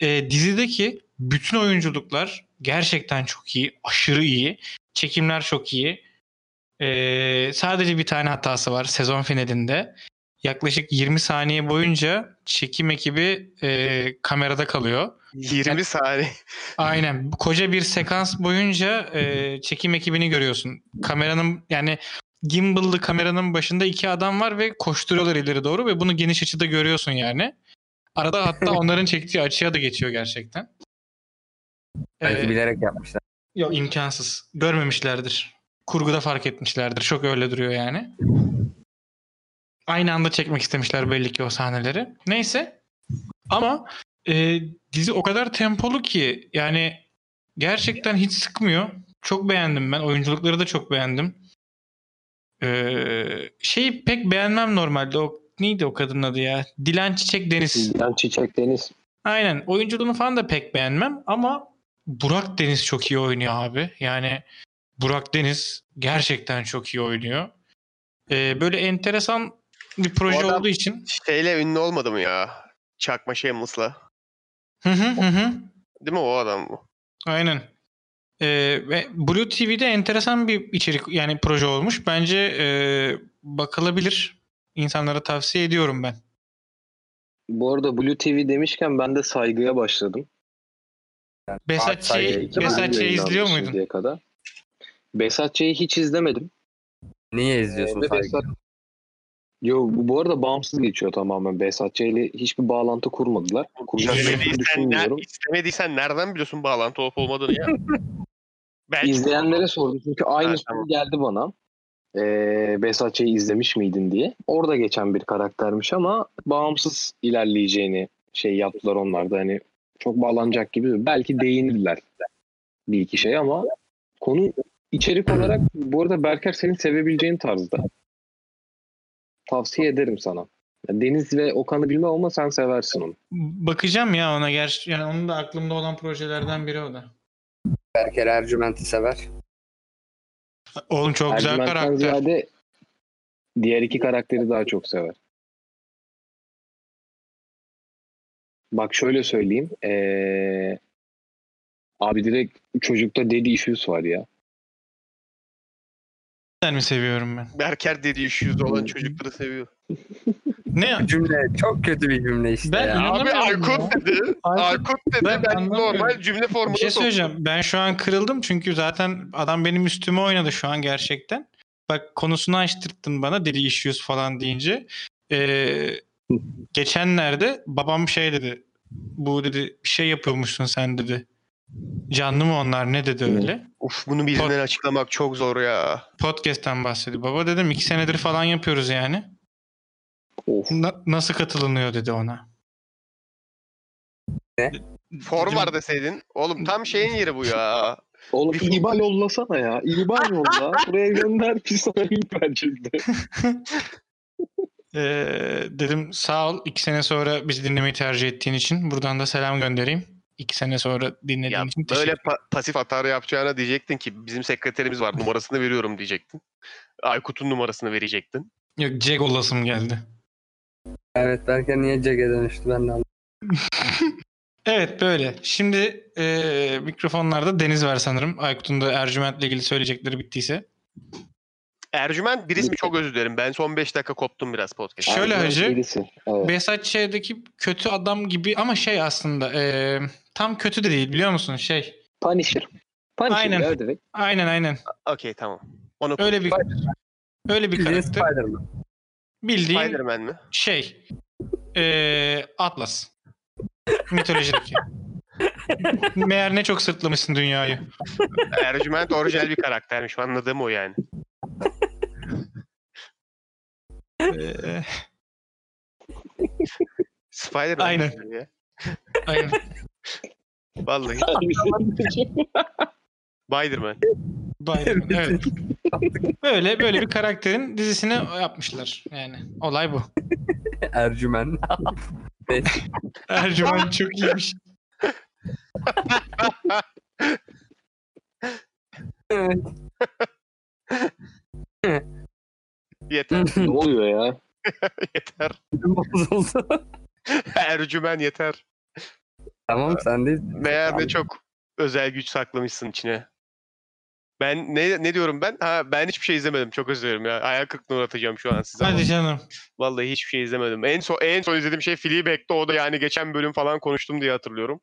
Speaker 3: Ee, dizideki bütün oyunculuklar gerçekten çok iyi, aşırı iyi. Çekimler çok iyi. Ee, sadece bir tane hatası var sezon finalinde. Yaklaşık 20 saniye boyunca çekim ekibi e, kamerada kalıyor.
Speaker 1: 20 saniye.
Speaker 3: Aynen. Koca bir sekans boyunca e, çekim ekibini görüyorsun. Kameranın yani gimbal'lı kameranın başında iki adam var ve koşturuyorlar ileri doğru ve bunu geniş açıda görüyorsun yani. Arada hatta onların çektiği açıya da geçiyor gerçekten.
Speaker 2: Belki
Speaker 3: Ee,
Speaker 2: bilerek yapmışlar.
Speaker 3: Yok imkansız. Görmemişlerdir. Kurguda fark etmişlerdir. Çok öyle duruyor yani. Aynı anda çekmek istemişler belli ki o sahneleri. Neyse. Ama e, dizi o kadar tempolu ki yani gerçekten hiç sıkmıyor. Çok beğendim ben. Oyunculukları da çok beğendim. Ee, şeyi pek beğenmem normalde. O neydi o kadının adı ya? Dilan Çiçek Deniz.
Speaker 4: Ben Çiçek Deniz.
Speaker 3: Aynen. Oyunculuğunu falan da pek beğenmem ama Burak Deniz çok iyi oynuyor abi. Yani Burak Deniz gerçekten çok iyi oynuyor. Ee, böyle enteresan bir proje
Speaker 1: adam-
Speaker 3: olduğu için.
Speaker 1: Şeyle ünlü olmadı mı ya? Çakma Shameless'la.
Speaker 3: Hı hı hı hı.
Speaker 1: Değil mi o adam bu?
Speaker 3: Aynen. Ee, ve Blue TV'de enteresan bir içerik yani proje olmuş. Bence e, bakılabilir. İnsanlara tavsiye ediyorum ben.
Speaker 4: Bu arada Blue TV demişken ben de saygıya başladım. Ee,
Speaker 2: saygı-
Speaker 1: Şey,
Speaker 3: Besatçı'yı
Speaker 4: İki bölüm
Speaker 3: Besatçı'yı
Speaker 4: yayınlandı
Speaker 3: izliyor muydun?
Speaker 4: şimdiye Kadar. Besatçı'yı hiç izlemedim.
Speaker 2: Niye izliyorsun
Speaker 4: Ve
Speaker 2: saygı?
Speaker 4: Behzat- Yo, bu bu arada bağımsız geçiyor tamamen. Besatçı ile hiçbir bağlantı kurmadılar. Kuracaklarını
Speaker 1: İstemediysen, ner-
Speaker 4: düşünmüyorum.
Speaker 1: istemediysen nereden biliyorsun bağlantı olup olmadığını ya? Belki
Speaker 4: İzleyenlere sordum çünkü aynı
Speaker 1: Ha,
Speaker 4: soru
Speaker 1: tamam.
Speaker 4: geldi bana. Ee, Besatçı'yı izlemiş miydin diye. Orada geçen bir karaktermiş ama bağımsız ilerleyeceğini şey yaptılar onlar da hani çok bağlanacak gibi. Belki değinirler bir iki şey ama konu içerik olarak bu arada Berker senin sevebileceğin tarzda. Tavsiye ederim sana. Ya Deniz ve Okan'ı bilmem ama sen seversin onu.
Speaker 3: Bakacağım ya ona gerçi yani onun da aklımda olan projelerden biri o da.
Speaker 2: Berker Ercüment'i sever.
Speaker 3: Oğlum çok güzel
Speaker 4: Ercüment'ten
Speaker 3: karakter.
Speaker 4: ziyade diğer iki karakteri daha çok sever. Bak şöyle söyleyeyim. Ee, abi direkt çocukta dedi issues var ya.
Speaker 3: Ben mi seviyorum ben?
Speaker 1: Berker dediği şu yüzde olan çocukları seviyor.
Speaker 3: Ne?
Speaker 2: Cümle çok kötü bir cümle işte
Speaker 3: Ben
Speaker 2: ya.
Speaker 1: Abi
Speaker 3: Anlamıyorum
Speaker 1: Aykut dedi.
Speaker 3: Aykut-
Speaker 1: Aykut dedi.
Speaker 3: Ben
Speaker 1: Ben,
Speaker 3: anlamıyorum.
Speaker 1: normal cümle formuna
Speaker 3: Bir şey
Speaker 1: soktum.
Speaker 3: söyleyeceğim. Ben şu an kırıldım çünkü zaten adam benim üstüme oynadı şu an gerçekten. Bak konusunu açtırttın bana deli issues falan deyince. Ee, geçenlerde babam şey dedi. Bu dedi bir şey yapıyormuşsun sen dedi. Canlı mı onlar ne dedi
Speaker 4: Ne?
Speaker 3: öyle.
Speaker 1: Of bunu birinden açıklamak çok zor ya.
Speaker 3: Podcast'ten bahsediyor. Baba dedim iki senedir falan yapıyoruz yani.
Speaker 4: Of.
Speaker 3: Na- nasıl katılınıyor dedi ona.
Speaker 2: Ne?
Speaker 1: Form
Speaker 3: Dedim-
Speaker 1: var deseydin. Oğlum tam şeyin yeri bu ya.
Speaker 4: Oğlum
Speaker 1: Bir-
Speaker 4: İBAN yollasana ya. İBAN yolla. Buraya gönder ki sana link verecekler.
Speaker 3: Ee, dedim sağ ol iki sene sonra bizi dinlemeyi tercih ettiğin için buradan da selam göndereyim. İki sene sonra dinlediğin
Speaker 1: Ya
Speaker 3: için teşekkür
Speaker 1: böyle pa- pasif atar yapacağına diyecektin ki bizim sekreterimiz var numarasını veriyorum diyecektin. Aykut'un numarasını verecektin.
Speaker 3: Yok Jack olasım geldi.
Speaker 2: Evet Berker niye Cege dönüştü ben de anlamadım.
Speaker 3: Evet böyle. Şimdi ee, mikrofonlarda Deniz var sanırım. Aykut'un da Ercüment'le ilgili söyleyecekleri bittiyse.
Speaker 1: Ercüment bir ismi çok özür dilerim. Ben son 5 dakika koptum biraz podcast.
Speaker 3: Şöyle
Speaker 4: Ercüment
Speaker 3: hacı.
Speaker 4: birisi. Evet.
Speaker 3: Behzat Ç'deki kötü adam gibi ama şey aslında ee, tam kötü de değil biliyor musun? Şey
Speaker 4: Punisher. Punisher
Speaker 3: Aynen.
Speaker 4: ya direkt.
Speaker 3: aynen aynen.
Speaker 1: Okey tamam. Onu
Speaker 3: Öyle bir öyle bir
Speaker 2: Bildiğin
Speaker 3: karakter.
Speaker 2: Spider-Man.
Speaker 3: Bildiğin
Speaker 1: Spider-Man mi?
Speaker 3: şey eee, Atlas mitolojideki. Meğer ne çok sırtlamışsın dünyayı.
Speaker 1: Ercüment orijinal bir karaktermiş. Anladığım o yani.
Speaker 3: Eee,
Speaker 1: Spider-Man.
Speaker 3: Aynen.
Speaker 1: Ya.
Speaker 3: aynen.
Speaker 1: Vallahi. Spider-Man.
Speaker 3: Bayram, evet. Böyle böyle bir karakterin dizisini yapmışlar. Yani olay bu.
Speaker 2: Ercüment.
Speaker 3: Ercüment çok iyiymiş.
Speaker 2: Evet.
Speaker 1: Yeter.
Speaker 4: ne oluyor ya?
Speaker 1: yeter.
Speaker 2: Bozuldu.
Speaker 1: Ercümen yeter.
Speaker 2: tamam sen de
Speaker 1: Meğer ne çok özel güç saklamışsın içine. Ben ne ne diyorum ben? Ha ben hiçbir şey izlemedim. Çok özür dilerim ya. Hayal kırıklığına uğratacağım şu an size. ama
Speaker 3: Hadi canım.
Speaker 1: Vallahi hiçbir şey izlemedim. En son en son izlediğim şey Fleabag'ti. O da yani geçen bölüm falan konuştum diye hatırlıyorum.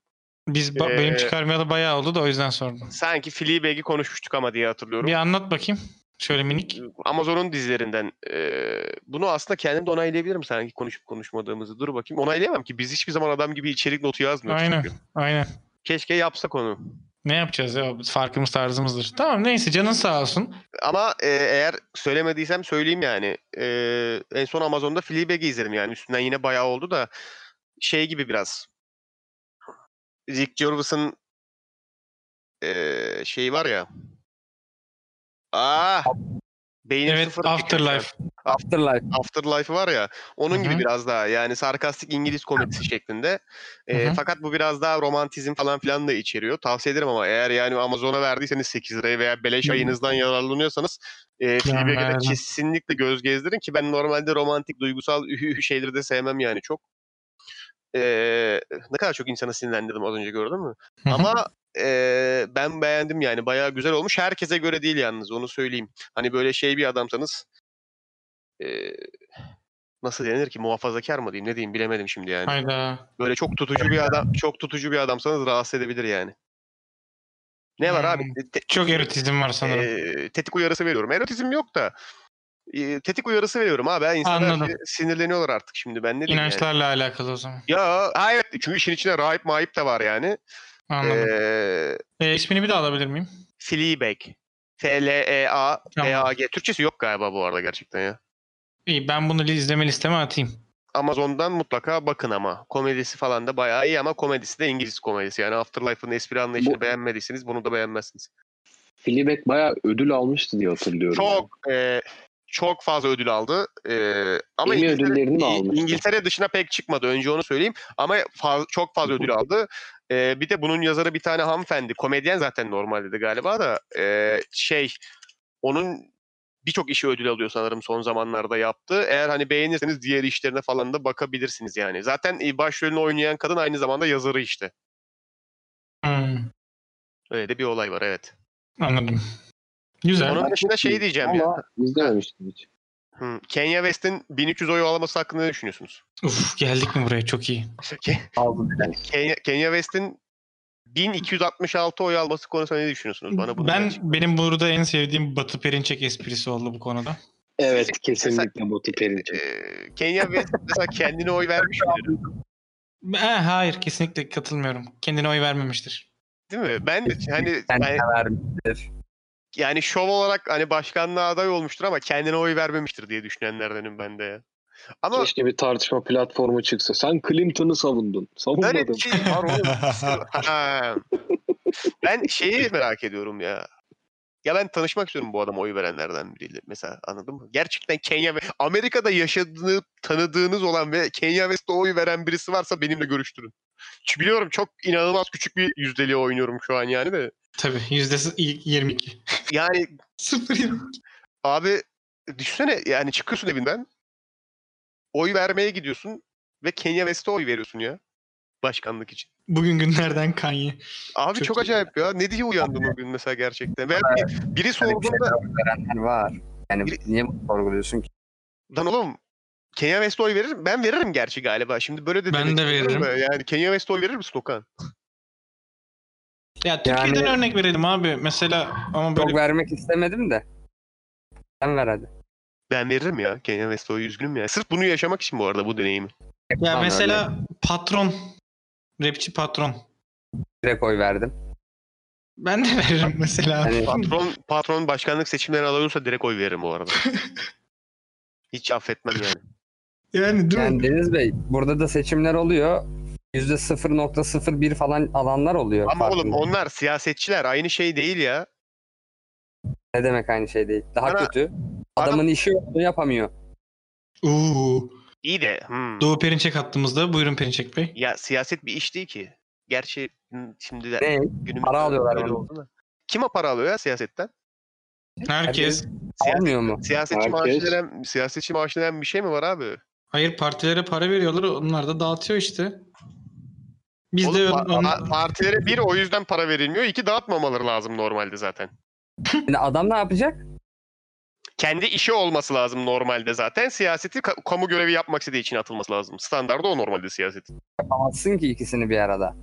Speaker 3: Biz ba-
Speaker 1: Ee,
Speaker 3: benim çıkarmayalı bayağı oldu da o yüzden sordum.
Speaker 1: Sanki Fleabag'i konuşmuştuk ama diye hatırlıyorum.
Speaker 3: Bir anlat bakayım. Şöyle minik.
Speaker 1: Amazon'un dizilerinden. Ee, bunu aslında kendim de onaylayabilirim sanki konuşup konuşmadığımızı. Dur bakayım. Onaylayamam ki. Biz hiçbir zaman adam gibi içerik notu yazmıyoruz.
Speaker 3: Aynen.
Speaker 1: çünkü.
Speaker 3: Aynen.
Speaker 1: Keşke yapsak onu.
Speaker 3: Ne yapacağız ya? Farkımız tarzımızdır. Tamam neyse canın sağ olsun.
Speaker 1: Ama e, eğer söylemediysem söyleyeyim yani. E, en son Amazon'da Fleabag'i izledim yani. Üstünden yine bayağı oldu da şey gibi biraz. Rick Gervais'ın e, şeyi var ya. Ah! Beynim
Speaker 3: Evet
Speaker 1: sıfır fikir şu an.
Speaker 3: Afterlife.
Speaker 2: Afterlife.
Speaker 1: Afterlife var ya onun
Speaker 3: Hı
Speaker 1: gibi
Speaker 3: hı.
Speaker 1: biraz daha yani sarkastik İngiliz komedisi şeklinde. Ee,
Speaker 3: Hı hı.
Speaker 1: fakat bu biraz daha romantizm falan filan da içeriyor. Tavsiye ederim ama eğer yani Amazon'a verdiyseniz 8 liraya veya beleş
Speaker 3: Hı.
Speaker 1: ayınızdan yararlanıyorsanız e, Fleabag'e de
Speaker 3: aynen.
Speaker 1: kesinlikle göz gezdirin ki ben normalde romantik duygusal ühü ühü şeyleri de sevmem yani çok. Ee, ne kadar çok insanı sinirlendirdim az önce gördün mü?
Speaker 3: Hı hı.
Speaker 1: Ama eee, ben beğendim yani bayağı güzel olmuş. Herkese göre değil yalnız onu söyleyeyim. Hani böyle şey bir adamsanız eee, nasıl denir ki muhafazakar mı diyeyim ne diyeyim bilemedim şimdi yani.
Speaker 3: Hayda.
Speaker 1: Böyle çok tutucu bir adam çok tutucu bir adamsanız rahatsız edebilir yani. Ne var abi? E, Te-
Speaker 3: Hmm. Çok erotizm var sanırım.
Speaker 1: eee, tetik uyarısı veriyorum. Erotizm yok da eee, tetik uyarısı veriyorum abi. Ha, İnsanlar
Speaker 3: Anladım.
Speaker 1: sinirleniyorlar artık şimdi ben ne diyeyim yani.
Speaker 3: İnançlarla alakalı o zaman.
Speaker 1: Ya hayır çünkü işin içine rahip mahip de var yani.
Speaker 3: Anladım.
Speaker 1: Eee
Speaker 3: E, ismini bir de alabilir miyim?
Speaker 1: Fleabag. E F-L-E-A
Speaker 3: Tamam.
Speaker 1: B-A-G. Türkçesi yok galiba bu arada gerçekten ya.
Speaker 3: İyi ben bunu li- izleme listeme atayım.
Speaker 1: Amazon'dan mutlaka bakın ama. Komedisi falan da bayağı iyi ama komedisi de İngiliz komedisi. Yani Afterlife'ın espri anlayışını
Speaker 4: Bu-
Speaker 1: beğenmediyseniz bunu da beğenmezsiniz.
Speaker 4: Fleabag bayağı ödül almıştı diye hatırlıyorum.
Speaker 1: Çok e, çok fazla ödül aldı. E, ama
Speaker 4: Emmy
Speaker 1: İngiltere,
Speaker 4: ödüllerini mi
Speaker 1: İ-
Speaker 4: almıştı?
Speaker 1: İngiltere dışına pek çıkmadı. Önce onu söyleyeyim. Ama faz- çok fazla ödül aldı. E, bir de bunun yazarı bir tane hanımefendi. Komedyen zaten normalde de galiba da. e, şey onun birçok işi ödül alıyor sanırım son zamanlarda yaptı. Eğer hani beğenirseniz diğer işlerine falan da bakabilirsiniz yani. Zaten e, başrolünü oynayan kadın aynı zamanda yazarı işte.
Speaker 3: Hmm,
Speaker 1: Öyle de bir olay var evet.
Speaker 3: anladım. Güzel.
Speaker 1: Onun dışında şey diyeceğim ya.
Speaker 4: Ama izlememiştim hiç.
Speaker 1: Hı. Kenya West'in 1300 oy alaması hakkında ne düşünüyorsunuz?
Speaker 3: Uf geldik mi buraya çok iyi.
Speaker 1: Ke-
Speaker 2: Aldı bile.
Speaker 1: Kenya, Kenya West'in 1266 oy alması konusunda ne düşünüyorsunuz? Bana bunu
Speaker 3: ben
Speaker 1: söyleyin.
Speaker 3: benim burada en sevdiğim Batı Perinçek esprisi oldu bu konuda.
Speaker 4: Evet kesinlikle Batu Perinçek.
Speaker 1: Ee, Kenya West mesela kendine oy vermiş midir?
Speaker 3: E, hayır kesinlikle katılmıyorum. Kendine oy vermemiştir.
Speaker 1: Değil mi? Ben de hani
Speaker 2: Kendine
Speaker 1: ben-
Speaker 2: vermiştir.
Speaker 1: yani şov olarak hani başkanlığa aday olmuştur ama kendine oy vermemiştir diye düşünenlerdenim ben de. ya. Ama
Speaker 4: Keşke bir tartışma platformu çıksa. Sen Clinton'ı savundun.
Speaker 1: böyle
Speaker 4: Savunmadın.
Speaker 1: bir şey var oğlum. Ha. ben şeyi merak ediyorum ya. Ya ben tanışmak istiyorum bu adama oy verenlerden biriyle mesela anladın mı? Gerçekten Kenya ve Amerika'da yaşadığını tanıdığınız olan ve Kenya West'e oy veren birisi varsa benimle görüştürün. Çünkü biliyorum çok inanılmaz küçük bir yüzdeliğe oynuyorum şu an yani de.
Speaker 3: Tabii yüzde s- ilk 22.
Speaker 1: Yani
Speaker 3: Sıfır yirmi-
Speaker 1: abi düşünsene yani çıkıyorsun evinden oy vermeye gidiyorsun ve Kenya West'e oy veriyorsun ya başkanlık için.
Speaker 3: Bugün günlerden Kanye.
Speaker 1: Abi çok,
Speaker 3: Çok iyi.
Speaker 1: acayip ya. Ne diye uyandın o gün mesela gerçekten? Veya bir- biri
Speaker 2: Yani Hani bir
Speaker 1: sorduğunda
Speaker 2: şeyler verenler var. Yani
Speaker 1: Bir-
Speaker 2: niye bunu sorguluyorsun ki?
Speaker 1: Lan oğlum Kenya West'e oy verir Ben veririm gerçi galiba. Şimdi böyle de
Speaker 3: Ben
Speaker 1: demek
Speaker 3: de
Speaker 1: istemiyorum
Speaker 3: veririm.
Speaker 1: da Yani Kenya West'e oy verir misin Okan?
Speaker 3: Ya Türkiye'den örnek verelim abi. Mesela ama böyle
Speaker 2: Çok vermek istemedim de. Sen ver hadi.
Speaker 1: Ben veririm ya. Kenya West'e oy üzgünüm ya. Sırf bunu yaşamak için bu arada bu deneyimi.
Speaker 3: ya
Speaker 2: Lan
Speaker 3: mesela
Speaker 2: örnek.
Speaker 3: patron rapçi patron.
Speaker 2: Direkt oy verdim.
Speaker 3: Ben de veririm mesela.
Speaker 2: Hani-
Speaker 1: Patron, patron başkanlık seçimlerine aday olursa direkt oy veririm bu arada. Hiç affetmem yani.
Speaker 3: Yani değil mi?
Speaker 2: Yani Deniz Bey burada da seçimler oluyor. %0.01 falan alanlar oluyor.
Speaker 1: Ama oğlum
Speaker 2: farkında.
Speaker 1: onlar siyasetçiler. Aynı şey değil ya.
Speaker 2: Ne demek aynı şey değil. Daha
Speaker 1: Bana-
Speaker 2: kötü.
Speaker 1: Adam-
Speaker 2: Adamın işi yok, bunu yapamıyor.
Speaker 3: Oo.
Speaker 1: İyi de. hmm.
Speaker 3: Doğu Perinçek hattımızda. Buyurun Perinçek Bey.
Speaker 1: Ya siyaset bir iş değil ki. Gerçi hı, şimdi de
Speaker 2: Ne?
Speaker 1: günümüzde
Speaker 2: Para alıyorlar
Speaker 1: öyle
Speaker 2: bana.
Speaker 1: oldu da. Kime para alıyor ya siyasetten?
Speaker 3: Herkes.
Speaker 1: Siyaset,
Speaker 2: Almıyor mu?
Speaker 1: siyasetçi maaşı
Speaker 4: Herkes.
Speaker 1: denen, siyasetçi maaşı denen bir şey mi var abi?
Speaker 3: Hayır partilere para veriyorlar. Onlar da dağıtıyor işte. Biz
Speaker 1: Oğlum,
Speaker 3: de
Speaker 1: pa-
Speaker 3: on-
Speaker 1: pa- partilere bir o yüzden para verilmiyor. iki dağıtmamaları lazım normalde zaten.
Speaker 2: Yani adam ne yapacak?
Speaker 1: Kendi işi olması lazım normalde zaten. Siyaseti ka- kamu görevi yapmak istediği için atılması lazım. Standardı o normalde siyaset.
Speaker 2: Yapamazsın ki ikisini bir arada.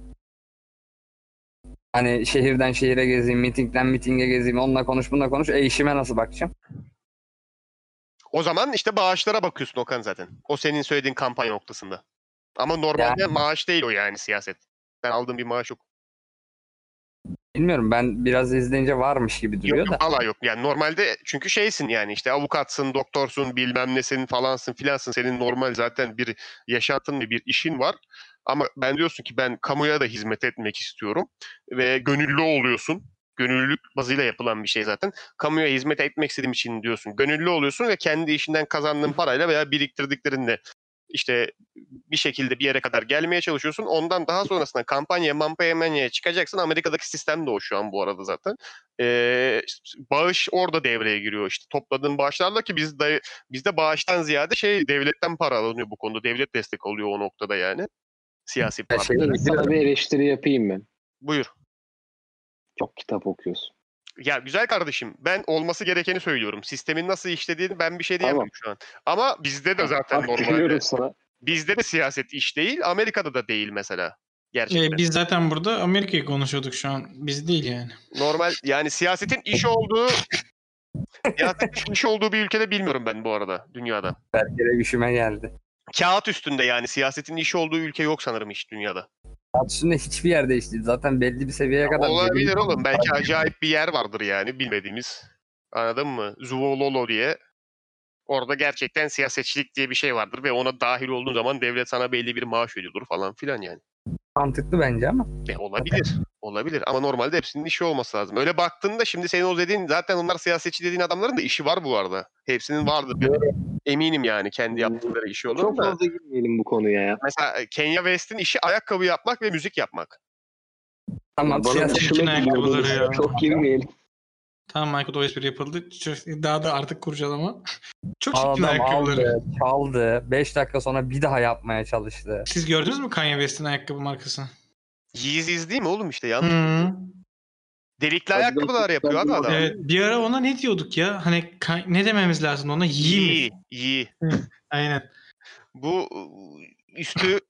Speaker 2: Hani şehirden şehire gezeyim, mitingden mitinge gezeyim, onunla konuş, bununla konuş. E işime nasıl bakacağım?
Speaker 1: O zaman işte bağışlara bakıyorsun Okan zaten. O senin söylediğin kampanya noktasında. Ama normalde maaş değil o yani siyaset. Ben aldığım bir maaş yok.
Speaker 2: Bilmiyorum ben biraz izleyince varmış gibi duruyor
Speaker 1: Yok
Speaker 2: da.
Speaker 1: yok valla yok. Yani normalde çünkü şeysin yani işte avukatsın, doktorsun, bilmem nesin falansın filansın. Senin normal zaten bir yaşantın ve bir işin var. Ama ben diyorsun ki ben kamuya da hizmet etmek istiyorum. Ve gönüllü oluyorsun. Gönüllülük bazıyla yapılan bir şey zaten. Kamuya hizmet etmek istediğim için diyorsun. Gönüllü oluyorsun ve kendi işinden kazandığın parayla veya biriktirdiklerinle işte bir şekilde bir yere kadar gelmeye çalışıyorsun. Ondan daha sonrasında kampanya mampanya manyaya çıkacaksın. Amerika'daki sistem de o şu an bu arada zaten. Ee, bağış orada devreye giriyor işte. Topladığın bağışlarla ki biz de, bizde bağıştan ziyade şey devletten para alınıyor bu konuda. Devlet destek oluyor o noktada yani. Siyasi
Speaker 2: Ya şey-
Speaker 1: partilere.
Speaker 4: Sana bir eleştiri yapayım ben.
Speaker 1: Buyur.
Speaker 4: Çok kitap okuyorsun.
Speaker 1: Ya güzel kardeşim ben olması gerekeni söylüyorum. Sistemin nasıl işlediğini ben bir şey diyemem
Speaker 4: Tamam.
Speaker 1: şu an. Ama bizde de zaten normalde.
Speaker 4: Katılıyorum sana.
Speaker 1: Bizde de siyaset iş değil, Amerika'da da değil mesela. Gerçekten.
Speaker 3: Ee, biz zaten burada Amerika'yı konuşuyorduk şu an. Biz değil yani.
Speaker 1: Normal yani siyasetin iş olduğu siyasetin iş olduğu bir ülkede bilmiyorum ben bu arada dünyada.
Speaker 2: Berker'e üşüme geldi.
Speaker 1: Kağıt üstünde yani siyasetin iş olduğu ülke yok sanırım hiç dünyada.
Speaker 2: Aslında hiçbir yerde işte zaten belli bir seviyeye kadar.
Speaker 1: Olabilir oğlum. Belki acayip bir yer vardır yani bilmediğimiz. Anladın mı? Zuvololo diye. Orada gerçekten siyasetçilik diye bir şey vardır ve ona dahil olduğun zaman devlet sana belli bir maaş ödüyordur falan filan yani.
Speaker 2: Mantıklı bence ama.
Speaker 1: E, olabilir. Olabilir ama normalde hepsinin işi olması lazım. Öyle baktığında şimdi senin o dediğin zaten onlar siyasetçi dediğin adamların da işi var bu arada. Hepsinin vardır. Eminim yani kendi yaptıkları işi şey olur
Speaker 4: Hmm. Çok
Speaker 1: da.
Speaker 4: fazla girmeyelim bu konuya ya.
Speaker 1: Mesela e, Kenya West'in işi ayakkabı yapmak ve müzik yapmak.
Speaker 2: Tamam şey
Speaker 4: Bana
Speaker 2: siyaset
Speaker 3: Çirkin
Speaker 4: hoşuma gidiyor
Speaker 3: ayakkabıları
Speaker 4: bunun.
Speaker 3: ya.
Speaker 4: Çok girmeyelim.
Speaker 3: Tamam Michael o espri yapıldı. Çok- Daha da artık kurcalama. Çok çirkin
Speaker 2: adam
Speaker 3: ayakkabıları.
Speaker 2: aldı, çaldı. 5 dakika sonra bir daha yapmaya çalıştı.
Speaker 3: Siz gördünüz mü Kanye West'in ayakkabı markasını?
Speaker 1: Yeezy's değil mi oğlum işte
Speaker 4: Hmm.
Speaker 1: yanlış.
Speaker 3: Hı.
Speaker 1: Delikli
Speaker 4: Adidas
Speaker 1: ayakkabılar yapıyor abi
Speaker 4: Adidas
Speaker 1: adam.
Speaker 3: Evet, bir ara ona ne diyorduk ya? Hani Ka- ne dememiz lazım ona? Yee mi?
Speaker 1: Yee, yee.
Speaker 3: Aynen.
Speaker 1: Bu ıı, üstü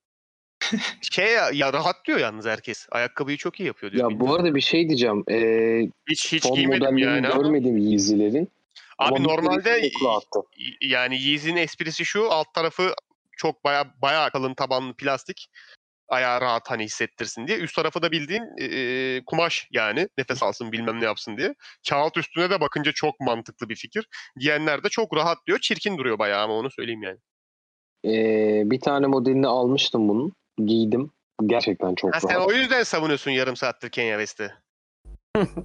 Speaker 1: şey ya, ya rahatlıyor yalnız herkes. Ayakkabıyı çok iyi yapıyor diyor.
Speaker 4: Ya bu arada bir şey diyeceğim. Ee,
Speaker 1: hiç hiç
Speaker 4: son
Speaker 1: giymedim
Speaker 4: modellerini
Speaker 1: yani ama.
Speaker 4: görmedim Yeezy'lerin.
Speaker 1: Abi
Speaker 4: Ama bir
Speaker 1: normalde
Speaker 4: tanesi çok rahattı.
Speaker 1: y- yani Yeezy'nin esprisi şu alt tarafı çok baya bayağı kalın tabanlı plastik ayağı rahat hani hissettirsin diye. Üst tarafı da bildiğin e, kumaş yani nefes alsın bilmem ne yapsın diye. Kağıt üstüne de bakınca çok mantıklı bir fikir. Giyenler de çok rahat diyor. Çirkin duruyor bayağı ama onu söyleyeyim yani.
Speaker 4: Ee, bir tane modelini almıştım bunun. Giydim. Gerçekten çok
Speaker 1: Ha, sen
Speaker 4: rahat.
Speaker 1: o yüzden savunuyorsun yarım saattir Kenya West'i.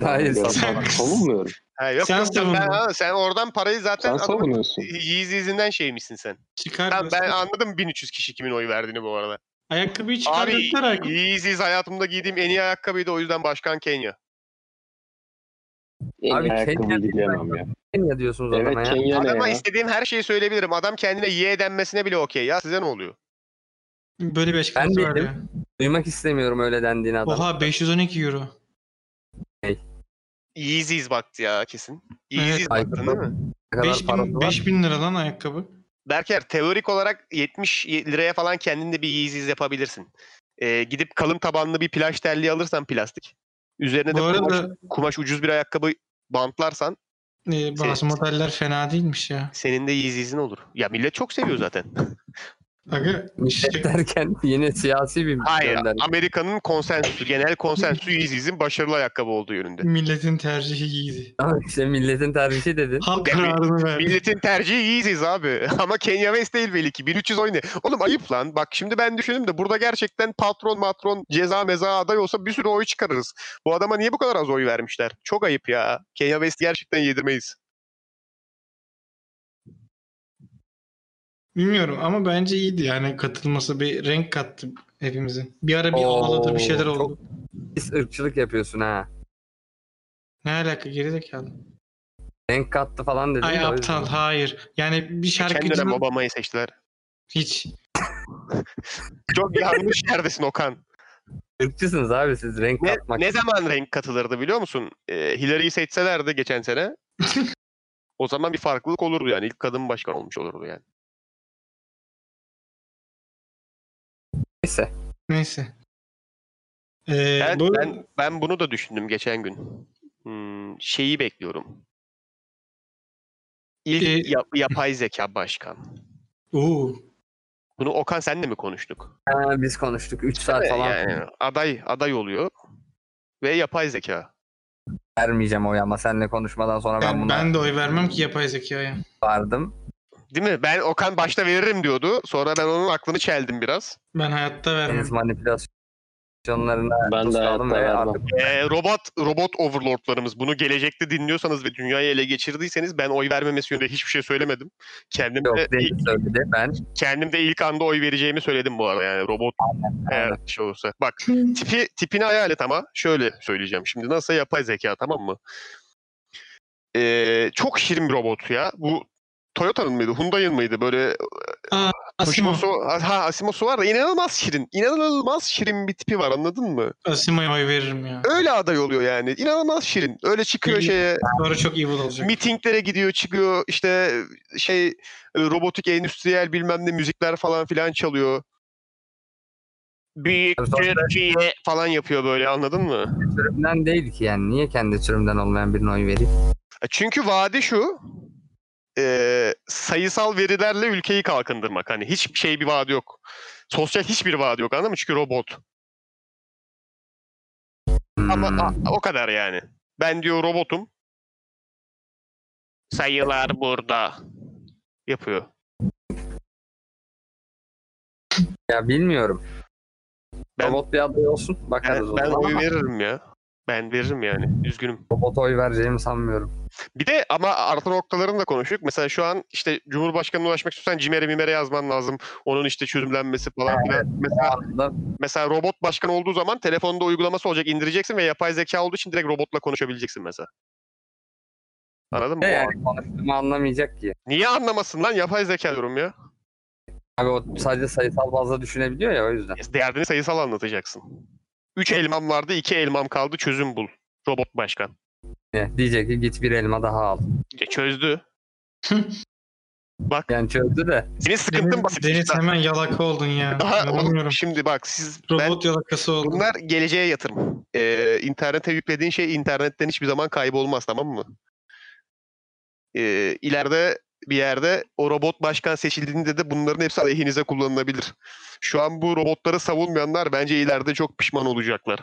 Speaker 2: Hayır
Speaker 4: Ya,
Speaker 2: saçmalama.
Speaker 4: Savunmuyorum.
Speaker 1: Ha, yok,
Speaker 3: Sen
Speaker 1: yok, ben-
Speaker 3: savundun.
Speaker 1: ha, sen oradan parayı zaten
Speaker 4: Sen
Speaker 1: adamın
Speaker 4: savunuyorsun.
Speaker 1: Yeezy'sinden şeymişsin sen.
Speaker 3: Çıkar.
Speaker 1: Tamam, ben
Speaker 3: diyorsun.
Speaker 1: anladım 1300 kişi kimin oy verdiğini bu arada.
Speaker 3: Ayakkabıyı çıkar.
Speaker 1: Abi
Speaker 3: dediler ayakkabı.
Speaker 1: Yeezy's hayatımda giydiğim en iyi ayakkabıydı o yüzden başkan Kenya.
Speaker 4: En
Speaker 2: Abi
Speaker 4: iyi ayakkabıyı
Speaker 2: Kenya-
Speaker 4: diyemem ya.
Speaker 2: Ne diyorsunuz
Speaker 4: Evet
Speaker 2: adama ya?
Speaker 4: Kenya ne
Speaker 1: Adama
Speaker 4: ya?
Speaker 1: istediğim her şeyi söyleyebilirim. Adam kendine ye denmesine bile okey ya. Size ne oluyor?
Speaker 3: Böyle bir açıklaması
Speaker 2: Ben
Speaker 3: var
Speaker 2: dedim.
Speaker 3: ya.
Speaker 2: Duymak istemiyorum öyle dendiğini adam.
Speaker 3: Oha 512 euro.
Speaker 1: Yeezy's baktı ya kesin. Yeezy's
Speaker 3: Evet.
Speaker 1: baktın değil mi?
Speaker 2: Ne kadar parası
Speaker 3: 5000,
Speaker 2: var?
Speaker 3: 5000 lira lan ayakkabı.
Speaker 1: Berker teorik olarak 70 liraya falan kendinde bir Yeezy's yapabilirsin. Ee, gidip kalın tabanlı bir plaj terliği alırsan plastik. Üzerine de
Speaker 3: Bu
Speaker 1: kumaş,
Speaker 3: arada
Speaker 1: kumaş ucuz bir ayakkabı bantlarsan
Speaker 3: e, bazı
Speaker 1: Şey-
Speaker 3: modeller fena değilmiş ya.
Speaker 1: senin de Yeezy'sin olur. Ya millet çok seviyor zaten.
Speaker 3: Aga şey-
Speaker 2: Millet derken yine siyasi bir
Speaker 1: Hayır.
Speaker 2: gönderme.
Speaker 1: Amerika'nın konsensüsü, genel konsensüsü Yeezy'sin başarılı ayakkabı olduğu yönünde.
Speaker 3: şey, milletin tercihi iyiydi.
Speaker 2: Ama işte milletin tercihi dedin.
Speaker 3: Halk
Speaker 1: Ya,
Speaker 3: kararını verdi.
Speaker 1: Milletin tercihi Yeezy's abi. Ama Kenya West değil belli ki. 1300 oyna. Oğlum ayıp lan. Bak şimdi ben düşündüm de burada gerçekten patron matron ceza meza aday olsa bir sürü oy çıkarırız. Bu adama niye bu kadar az oy vermişler? Çok ayıp ya. Kenya West'i gerçekten yedirmeyiz.
Speaker 3: Bilmiyorum ama bence iyiydi yani katılması bir renk kattı hepimizin. Bir ara bir
Speaker 2: Oo,
Speaker 3: ağladı bir şeyler oldu.
Speaker 2: çok- Biz ırkçılık yapıyorsun ha.
Speaker 3: Ne alaka gerizekalı.
Speaker 2: Renk kattı falan dedin
Speaker 3: Ay
Speaker 2: de o yüzden.
Speaker 3: aptal hayır. Yani bir
Speaker 1: Geçen
Speaker 3: şarkıcının
Speaker 1: dönem Obama'yı seçtiler.
Speaker 3: hiç.
Speaker 1: Çok yanlış yerdesin Okan.
Speaker 2: Irkçısınız abi siz renk
Speaker 1: Ne,
Speaker 2: katmak.
Speaker 1: ne zaman renk katılırdı biliyor musun? Ee, Hillary'yi seçselerdi geçen sene. o zaman bir farklılık olurdu yani. İlk kadın başkan olmuş olurdu yani.
Speaker 2: Neyse.
Speaker 3: Neyse. Ee,
Speaker 1: Ben,
Speaker 3: bu-
Speaker 1: ben, ben bunu da düşündüm geçen gün. Hmm, şeyi bekliyorum. İlk
Speaker 3: Ee,
Speaker 1: yap- yapay zeka başkan.
Speaker 3: Oo.
Speaker 1: Bunu Okan senle mi konuştuk?
Speaker 2: Ha, biz konuştuk 3 saat falan
Speaker 1: Yani aday aday oluyor ve yapay zeka.
Speaker 2: vermeyeceğim oy ama seninle konuşmadan sonra ben,
Speaker 3: Ben,
Speaker 2: buna
Speaker 3: ben de oy vermem ki yapay zekaya.
Speaker 2: vardım.
Speaker 1: Değil mi? Ben Okan başta veririm diyordu. Sonra ben onun aklını çeldim biraz.
Speaker 3: Ben hayatta vermem.
Speaker 2: Deniz manipülasyonlarına
Speaker 4: Ben de
Speaker 2: maruz
Speaker 4: hayatta
Speaker 2: kaldım ve
Speaker 4: vermem.
Speaker 2: artık
Speaker 1: Ee, robot robot overlordlarımız bunu gelecekte dinliyorsanız ve dünyayı ele geçirdiyseniz ben oy vermemesi yönünde hiçbir şey söylemedim. Kendim
Speaker 2: şey yok
Speaker 1: de,
Speaker 2: değil söyledi. Ben
Speaker 1: kendim de ilk anda oy vereceğimi söyledim bu arada yani robot eğer
Speaker 2: aynen.
Speaker 1: şey olursa. Bak tipi tipini hayal et ama şöyle söyleyeceğim. Şimdi nasıl yapay zeka tamam mı? Ee, çok şirin bir robot ya. Bu Toyota'nın mıydı? Hyundai'ın mıydı? Böyle
Speaker 3: Asimo.
Speaker 1: Asimosu, ha, Asimosu var da inanılmaz şirin. İnanılmaz şirin bir tipi var anladın mı?
Speaker 3: Asimo'ya oy veririm ya.
Speaker 1: Öyle aday oluyor yani. İnanılmaz şirin. Öyle çıkıyor
Speaker 3: İyi.
Speaker 1: şeye,
Speaker 3: Sonra çok evil olacak.
Speaker 1: mitinglere gidiyor çıkıyor. İşte şey robotik endüstriyel bilmem ne müzikler falan filan çalıyor. Büyük
Speaker 2: Tabii sonra-
Speaker 1: Türkiye falan yapıyor böyle anladın mı?
Speaker 2: türümden değil ki yani. Niye kendi türümden olmayan birine oy vereyim?
Speaker 1: E, Çünkü vaadi şu. e, sayısal verilerle ülkeyi kalkındırmak. Hani hiçbir şey bir vaadi yok. Sosyal hiçbir vaadi yok anladın mı? Çünkü robot. Ama
Speaker 2: Hmm.
Speaker 1: a- o kadar yani. Ben diyor robotum. Sayılar burada. Yapıyor.
Speaker 2: Ya bilmiyorum.
Speaker 1: Ben-
Speaker 2: Robot bir aday olsun. Bakarız
Speaker 1: Ben,
Speaker 2: o
Speaker 1: ben
Speaker 2: zaman
Speaker 1: oy
Speaker 2: ama
Speaker 1: veririm ya. Ben veririm yani. Üzgünüm.
Speaker 2: robota oy vereceğimi sanmıyorum.
Speaker 1: Bir de ama artı noktalarını da konuştuk. Mesela şu an işte Cumhurbaşkanı'na ulaşmak istiyorsan CİMER'e mimere yazman lazım. Onun işte çözümlenmesi falan filan. Mesela,
Speaker 2: Arada
Speaker 1: mesela robot başkan olduğu zaman telefonda uygulaması olacak indireceksin ve yapay zeka olduğu için direkt robotla konuşabileceksin mesela. Anladın mı?
Speaker 2: ne yani konuştuğumu anlamayacak ki.
Speaker 1: Niye anlamasın lan yapay zeka diyorum ya.
Speaker 2: Abi o sadece sayısal bazda düşünebiliyor ya o yüzden.
Speaker 1: Derdini sayısal anlatacaksın. 3 elmam vardı 2 elmam kaldı çözüm bul. Robot başkan.
Speaker 2: Ne? Diyecek ki git bir elma daha al.
Speaker 1: E, çözdü. Bak
Speaker 2: Yani çözdü de.
Speaker 1: senin sıkıntın
Speaker 3: Deniz,
Speaker 1: basit.
Speaker 3: Deniz hemen yalaka oldun ya.
Speaker 1: Daha
Speaker 3: İnanamıyorum.
Speaker 1: oğlum, şimdi bak siz ben
Speaker 3: Robot yalakası oldun.
Speaker 1: Bunlar geleceğe yatırım. Ee, internete yüklediğin şey internetten hiçbir zaman kaybolmaz tamam mı? Ee, ileride bir yerde o robot başkan seçildiğinde de bunların hepsi aleyhinize kullanılabilir. Şu an bu robotları savunmayanlar bence ileride çok pişman olacaklar.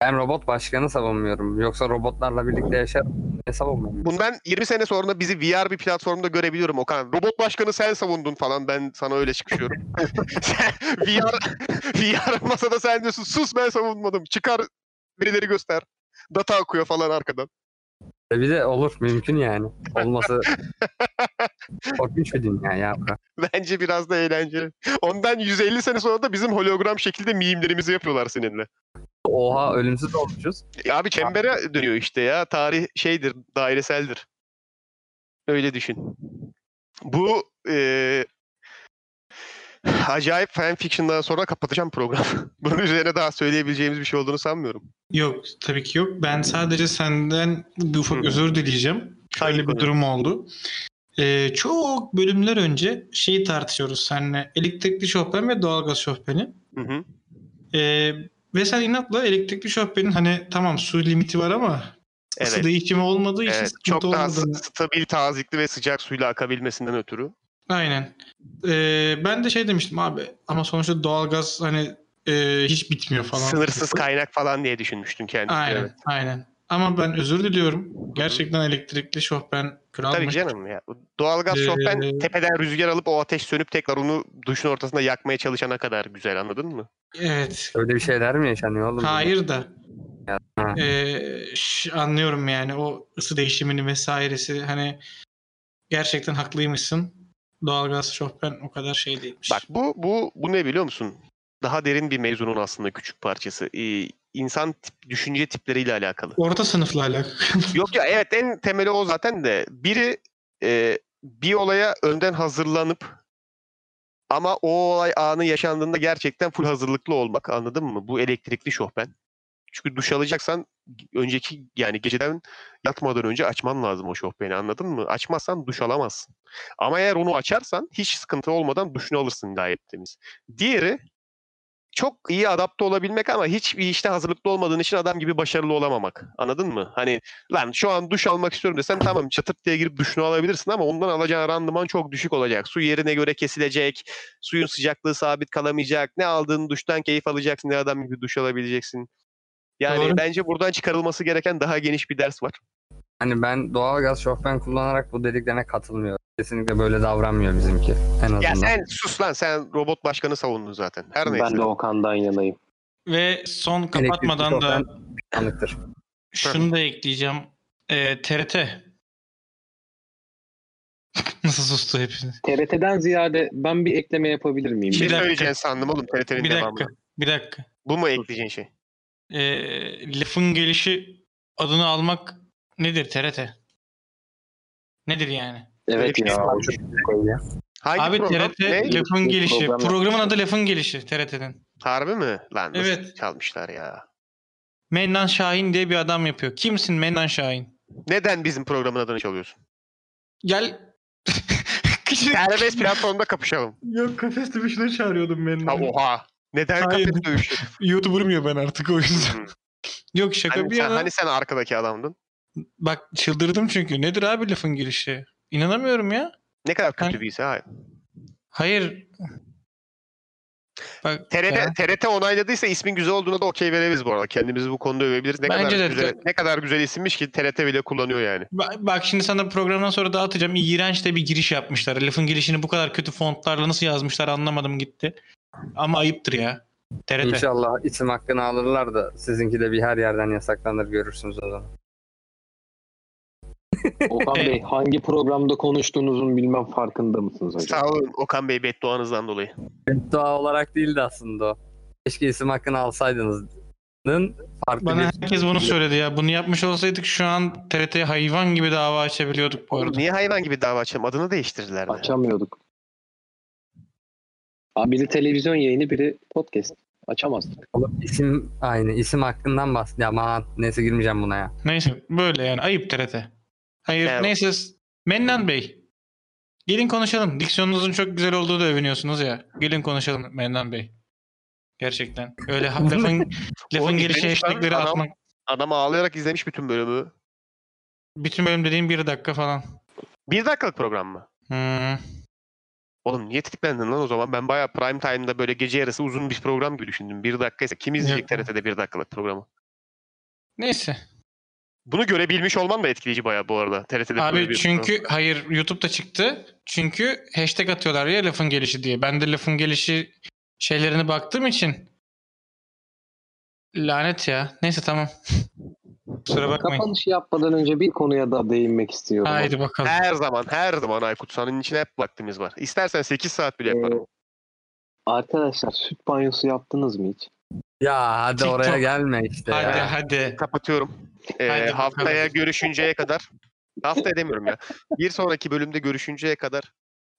Speaker 2: Ben robot başkanı savunmuyorum. Yoksa robotlarla birlikte yaşarım. Ne savunmuyorum?
Speaker 1: Bunu ben 20 sene sonra bizi VR bir platformda görebiliyorum Okan. Robot başkanı sen savundun falan ben sana öyle çıkışıyorum. Sen VR, VR masada sen diyorsun sus ben savunmadım. Çıkar verileri göster. Data akıyor falan arkadan.
Speaker 2: E Bir de olur mümkün yani. Olması korkunç bir dünya ya.
Speaker 1: Bence biraz da eğlenceli. Ondan 150 sene sonra da bizim hologram şekilde mimlerimizi yapıyorlar seninle.
Speaker 2: Oha ölümsüz olmuşuz.
Speaker 1: E abi çembere dönüyor işte ya. Tarih şeydir, daireseldir. Öyle düşün. Bu e, acayip fanfiction'dan sonra kapatacağım program. Bunun üzerine daha söyleyebileceğimiz bir şey olduğunu sanmıyorum.
Speaker 3: Yok tabii ki yok. Ben sadece senden bir ufak
Speaker 1: Hı.
Speaker 3: özür dileyeceğim.
Speaker 1: Hangi
Speaker 3: Şöyle bir
Speaker 1: konuda?
Speaker 3: durum oldu. Ee, çok bölümler önce şeyi tartışıyoruz seninle. Elektrikli şofben ve doğalgaz şofbeni.
Speaker 1: Hı hı.
Speaker 3: Ee, ve sen inatla elektrikli şofbenin hani tamam su limiti var ama ısı
Speaker 1: Evet.
Speaker 3: değişimi olmadığı için
Speaker 1: evet.
Speaker 3: şey sıkıntı
Speaker 1: Çok daha s-
Speaker 3: olmadığını-
Speaker 1: stabil, tazikli ve sıcak suyla akabilmesinden ötürü.
Speaker 3: Aynen. Ee, ben de şey demiştim abi ama sonuçta doğalgaz hani e, hiç bitmiyor falan.
Speaker 1: Sınırsız kaynak falan diye düşünmüştün kendini.
Speaker 3: Aynen
Speaker 1: Evet.
Speaker 3: aynen. Ama ben özür diliyorum. Gerçekten elektrikli şofben kralmış.
Speaker 1: Tabii ki canım ya. Doğalgaz
Speaker 3: Ee,
Speaker 1: şofben tepeden rüzgar alıp o ateş sönüp tekrar onu duşun ortasında yakmaya çalışana kadar güzel anladın mı?
Speaker 3: Evet.
Speaker 2: Öyle bir şeyler mi yaşanıyor oğlum?
Speaker 3: Hayır da
Speaker 2: Ya, ha.
Speaker 3: eee, ş- anlıyorum yani o ısı değişimini vesairesi hani gerçekten haklıymışsın. Doğalgaz şofben o kadar şey değilmiş.
Speaker 1: Bak bu bu bu ne biliyor musun? Daha derin bir mevzunun aslında küçük parçası. Ee, insan tip- düşünce tipleriyle alakalı.
Speaker 3: Orta sınıfla alakalı.
Speaker 1: Yok ya evet en temeli o zaten de biri e, bir olaya önden hazırlanıp ama o olay anı yaşandığında gerçekten full hazırlıklı olmak anladın mı? Bu elektrikli şofben. Çünkü duş alacaksan önceki yani geceden yatmadan önce açman lazım o şofbeni anladın mı? Açmazsan duş alamazsın. Ama eğer onu açarsan hiç sıkıntı olmadan duşunu alırsın gayet temiz. Diğeri çok iyi adapte olabilmek ama hiçbir işte hazırlıklı olmadığın için adam gibi başarılı olamamak. Anladın mı? Hani lan şu an duş almak istiyorum desen tamam çatırt diye girip duşunu alabilirsin ama ondan alacağın randıman çok düşük olacak. Su yerine göre kesilecek. Suyun sıcaklığı sabit kalamayacak. Ne aldığın duştan keyif alacaksın ne adam gibi duş alabileceksin. Yani
Speaker 3: Doğru.
Speaker 1: bence buradan çıkarılması gereken daha geniş bir ders var.
Speaker 2: Hani ben doğalgaz şofben kullanarak bu dediklerine katılmıyorum. Kesinlikle böyle davranmıyor bizimki en azından.
Speaker 1: Ya sen sus lan sen robot başkanı savundun zaten. Her neyse.
Speaker 4: Ben de Okan'dan yanayım.
Speaker 3: Ve son kapatmadan
Speaker 2: Elektrikli
Speaker 3: da
Speaker 2: şofben yanıktır.
Speaker 3: şunu da ekleyeceğim. Ee, TRT. Nasıl sustu hepiniz?
Speaker 4: TRT'den ziyade ben bir ekleme yapabilir miyim?
Speaker 1: Bir şey
Speaker 3: Bir dakika.
Speaker 1: söyleyeceğini sandım oğlum TRT'nin
Speaker 3: Bir
Speaker 1: devamı.
Speaker 3: dakika. Bir dakika.
Speaker 1: Bu mu ekleyeceğin şey?
Speaker 3: Ee, lafın gelişi adını almak nedir TRT? Nedir yani?
Speaker 4: Evet
Speaker 1: Öyle bir şey
Speaker 4: ya.
Speaker 1: varmış. Hangi
Speaker 3: Abi
Speaker 1: program?
Speaker 3: TRT
Speaker 1: Ne?
Speaker 3: lafın
Speaker 4: Bir
Speaker 3: gelişi.
Speaker 4: program
Speaker 3: Programın
Speaker 4: yapmış.
Speaker 3: adı lafın gelişi TRT'nin.
Speaker 1: Harbi mi? Lan nasıl
Speaker 3: Evet.
Speaker 1: çalmışlar ya.
Speaker 3: Mennan Şahin diye bir adam yapıyor. Kimsin Mennan Şahin?
Speaker 1: Neden bizim programın adını çalıyorsun?
Speaker 3: Gel.
Speaker 1: Serbest platformda kapışalım.
Speaker 3: Yok kafes dövüşüne çağırıyordum Mennan.
Speaker 1: Ha, oha. Neden
Speaker 3: Hayır.
Speaker 1: kafes dövüşü?
Speaker 3: YouTuber'ım ya ben artık o
Speaker 1: Hı.
Speaker 3: yüzden. Yok şaka
Speaker 1: Hani
Speaker 3: bir
Speaker 1: sen,
Speaker 3: yana.
Speaker 1: hani sen arkadaki adamdın.
Speaker 3: Bak çıldırdım çünkü. Nedir abi lafın girişi? İnanamıyorum ya.
Speaker 1: Ne kadar kötü
Speaker 3: Hani-
Speaker 1: birisi hayır.
Speaker 3: Hayır. Bak
Speaker 1: TRT,
Speaker 3: ya.
Speaker 1: TRT onayladıysa ismin güzel olduğuna da okey verebiliriz bu arada. Kendimizi bu konuda övebiliriz. Ne
Speaker 3: Bence
Speaker 1: kadar
Speaker 3: de-
Speaker 1: güzel, ne kadar güzel isimmiş ki TRT bile kullanıyor yani.
Speaker 3: Ba- Bak şimdi sana programdan sonra dağıtacağım. İğrenç de bir giriş yapmışlar. Lafın girişini bu kadar kötü fontlarla nasıl yazmışlar anlamadım gitti. Ama ayıptır ya. TRT.
Speaker 2: İnşallah isim hakkını alırlar da sizinki de bir her yerden yasaklanır görürsünüz o zaman.
Speaker 4: Okan Bey hangi programda konuştuğunuzun bilmem farkında mısınız acaba?
Speaker 1: Sağ olun Okan Bey bedduanızdan dolayı.
Speaker 2: Beddua olarak değildi aslında o. Keşke isim hakkını alsaydınız. Nın Farklı
Speaker 3: Bana
Speaker 2: bir-
Speaker 3: herkes bunu söyledi ya. Bunu yapmış olsaydık şu an TRT'ye hayvan gibi dava açabiliyorduk bu
Speaker 1: Oğlum
Speaker 3: arada.
Speaker 1: niye hayvan gibi dava açalım? Adını değiştirdiler mi?
Speaker 4: Açamıyorduk. Abi biri televizyon yayını biri podcast. Açamazdık.
Speaker 2: Oğlum isim aynı. isim hakkından bahs. Ya aman neyse girmeyeceğim buna ya.
Speaker 3: Neyse böyle yani ayıp TRT. Hayır
Speaker 1: Evet.
Speaker 3: neyse Mennan Bey. Gelin konuşalım. Diksiyonunuzun çok güzel olduğu da övünüyorsunuz ya. Gelin konuşalım Mennan Bey. Gerçekten. Öyle ha- lafın, lafın
Speaker 1: Oğlum,
Speaker 3: gelişi
Speaker 1: izlemişler mi?
Speaker 3: hashtagleri
Speaker 1: Adam-
Speaker 3: atmak.
Speaker 1: Adam ağlayarak izlemiş bütün bölümü.
Speaker 3: Bütün bölüm dediğim bir dakika falan.
Speaker 1: Bir dakikalık program mı?
Speaker 3: Hmm.
Speaker 1: Oğlum niye tetiklendin lan o zaman? Ben bayağı prime time'da böyle gece yarısı uzun bir program gibi düşündüm. Bir dakikaysa kim izleyecek
Speaker 3: Yok.
Speaker 1: TRT'de bir dakikalık programı?
Speaker 3: Neyse.
Speaker 1: Bunu görebilmiş olman da etkileyici bayağı bu arada. TRT'de böyle
Speaker 3: Abi
Speaker 1: bir-
Speaker 3: çünkü hayır YouTube'da çıktı. Çünkü hashtag atıyorlar ya lafın gelişi diye. Ben de lafın gelişi şeylerine baktığım için lanet ya. Neyse tamam. Kusura bakmayın.
Speaker 4: Kapanışı yapmadan önce bir konuya da değinmek istiyorum.
Speaker 3: Haydi bakalım.
Speaker 1: Her zaman her zaman Aykut San'ın içine hep vaktimiz var. İstersen 8 saat bile yaparım.
Speaker 4: Ee, arkadaşlar süt banyosu yaptınız mı hiç?
Speaker 2: Ya hadi
Speaker 3: TikTok.
Speaker 2: oraya gelme işte
Speaker 3: Hadi
Speaker 2: ya.
Speaker 3: hadi.
Speaker 1: Kapatıyorum. Ee,
Speaker 3: Haydi bakalım.
Speaker 1: haftaya görüşünceye kadar. Hafta edemiyorum ya. Bir sonraki bölümde görüşünceye kadar.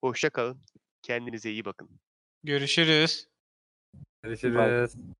Speaker 1: Hoşça kalın. Kendinize iyi bakın.
Speaker 3: Görüşürüz.
Speaker 2: Görüşürüz.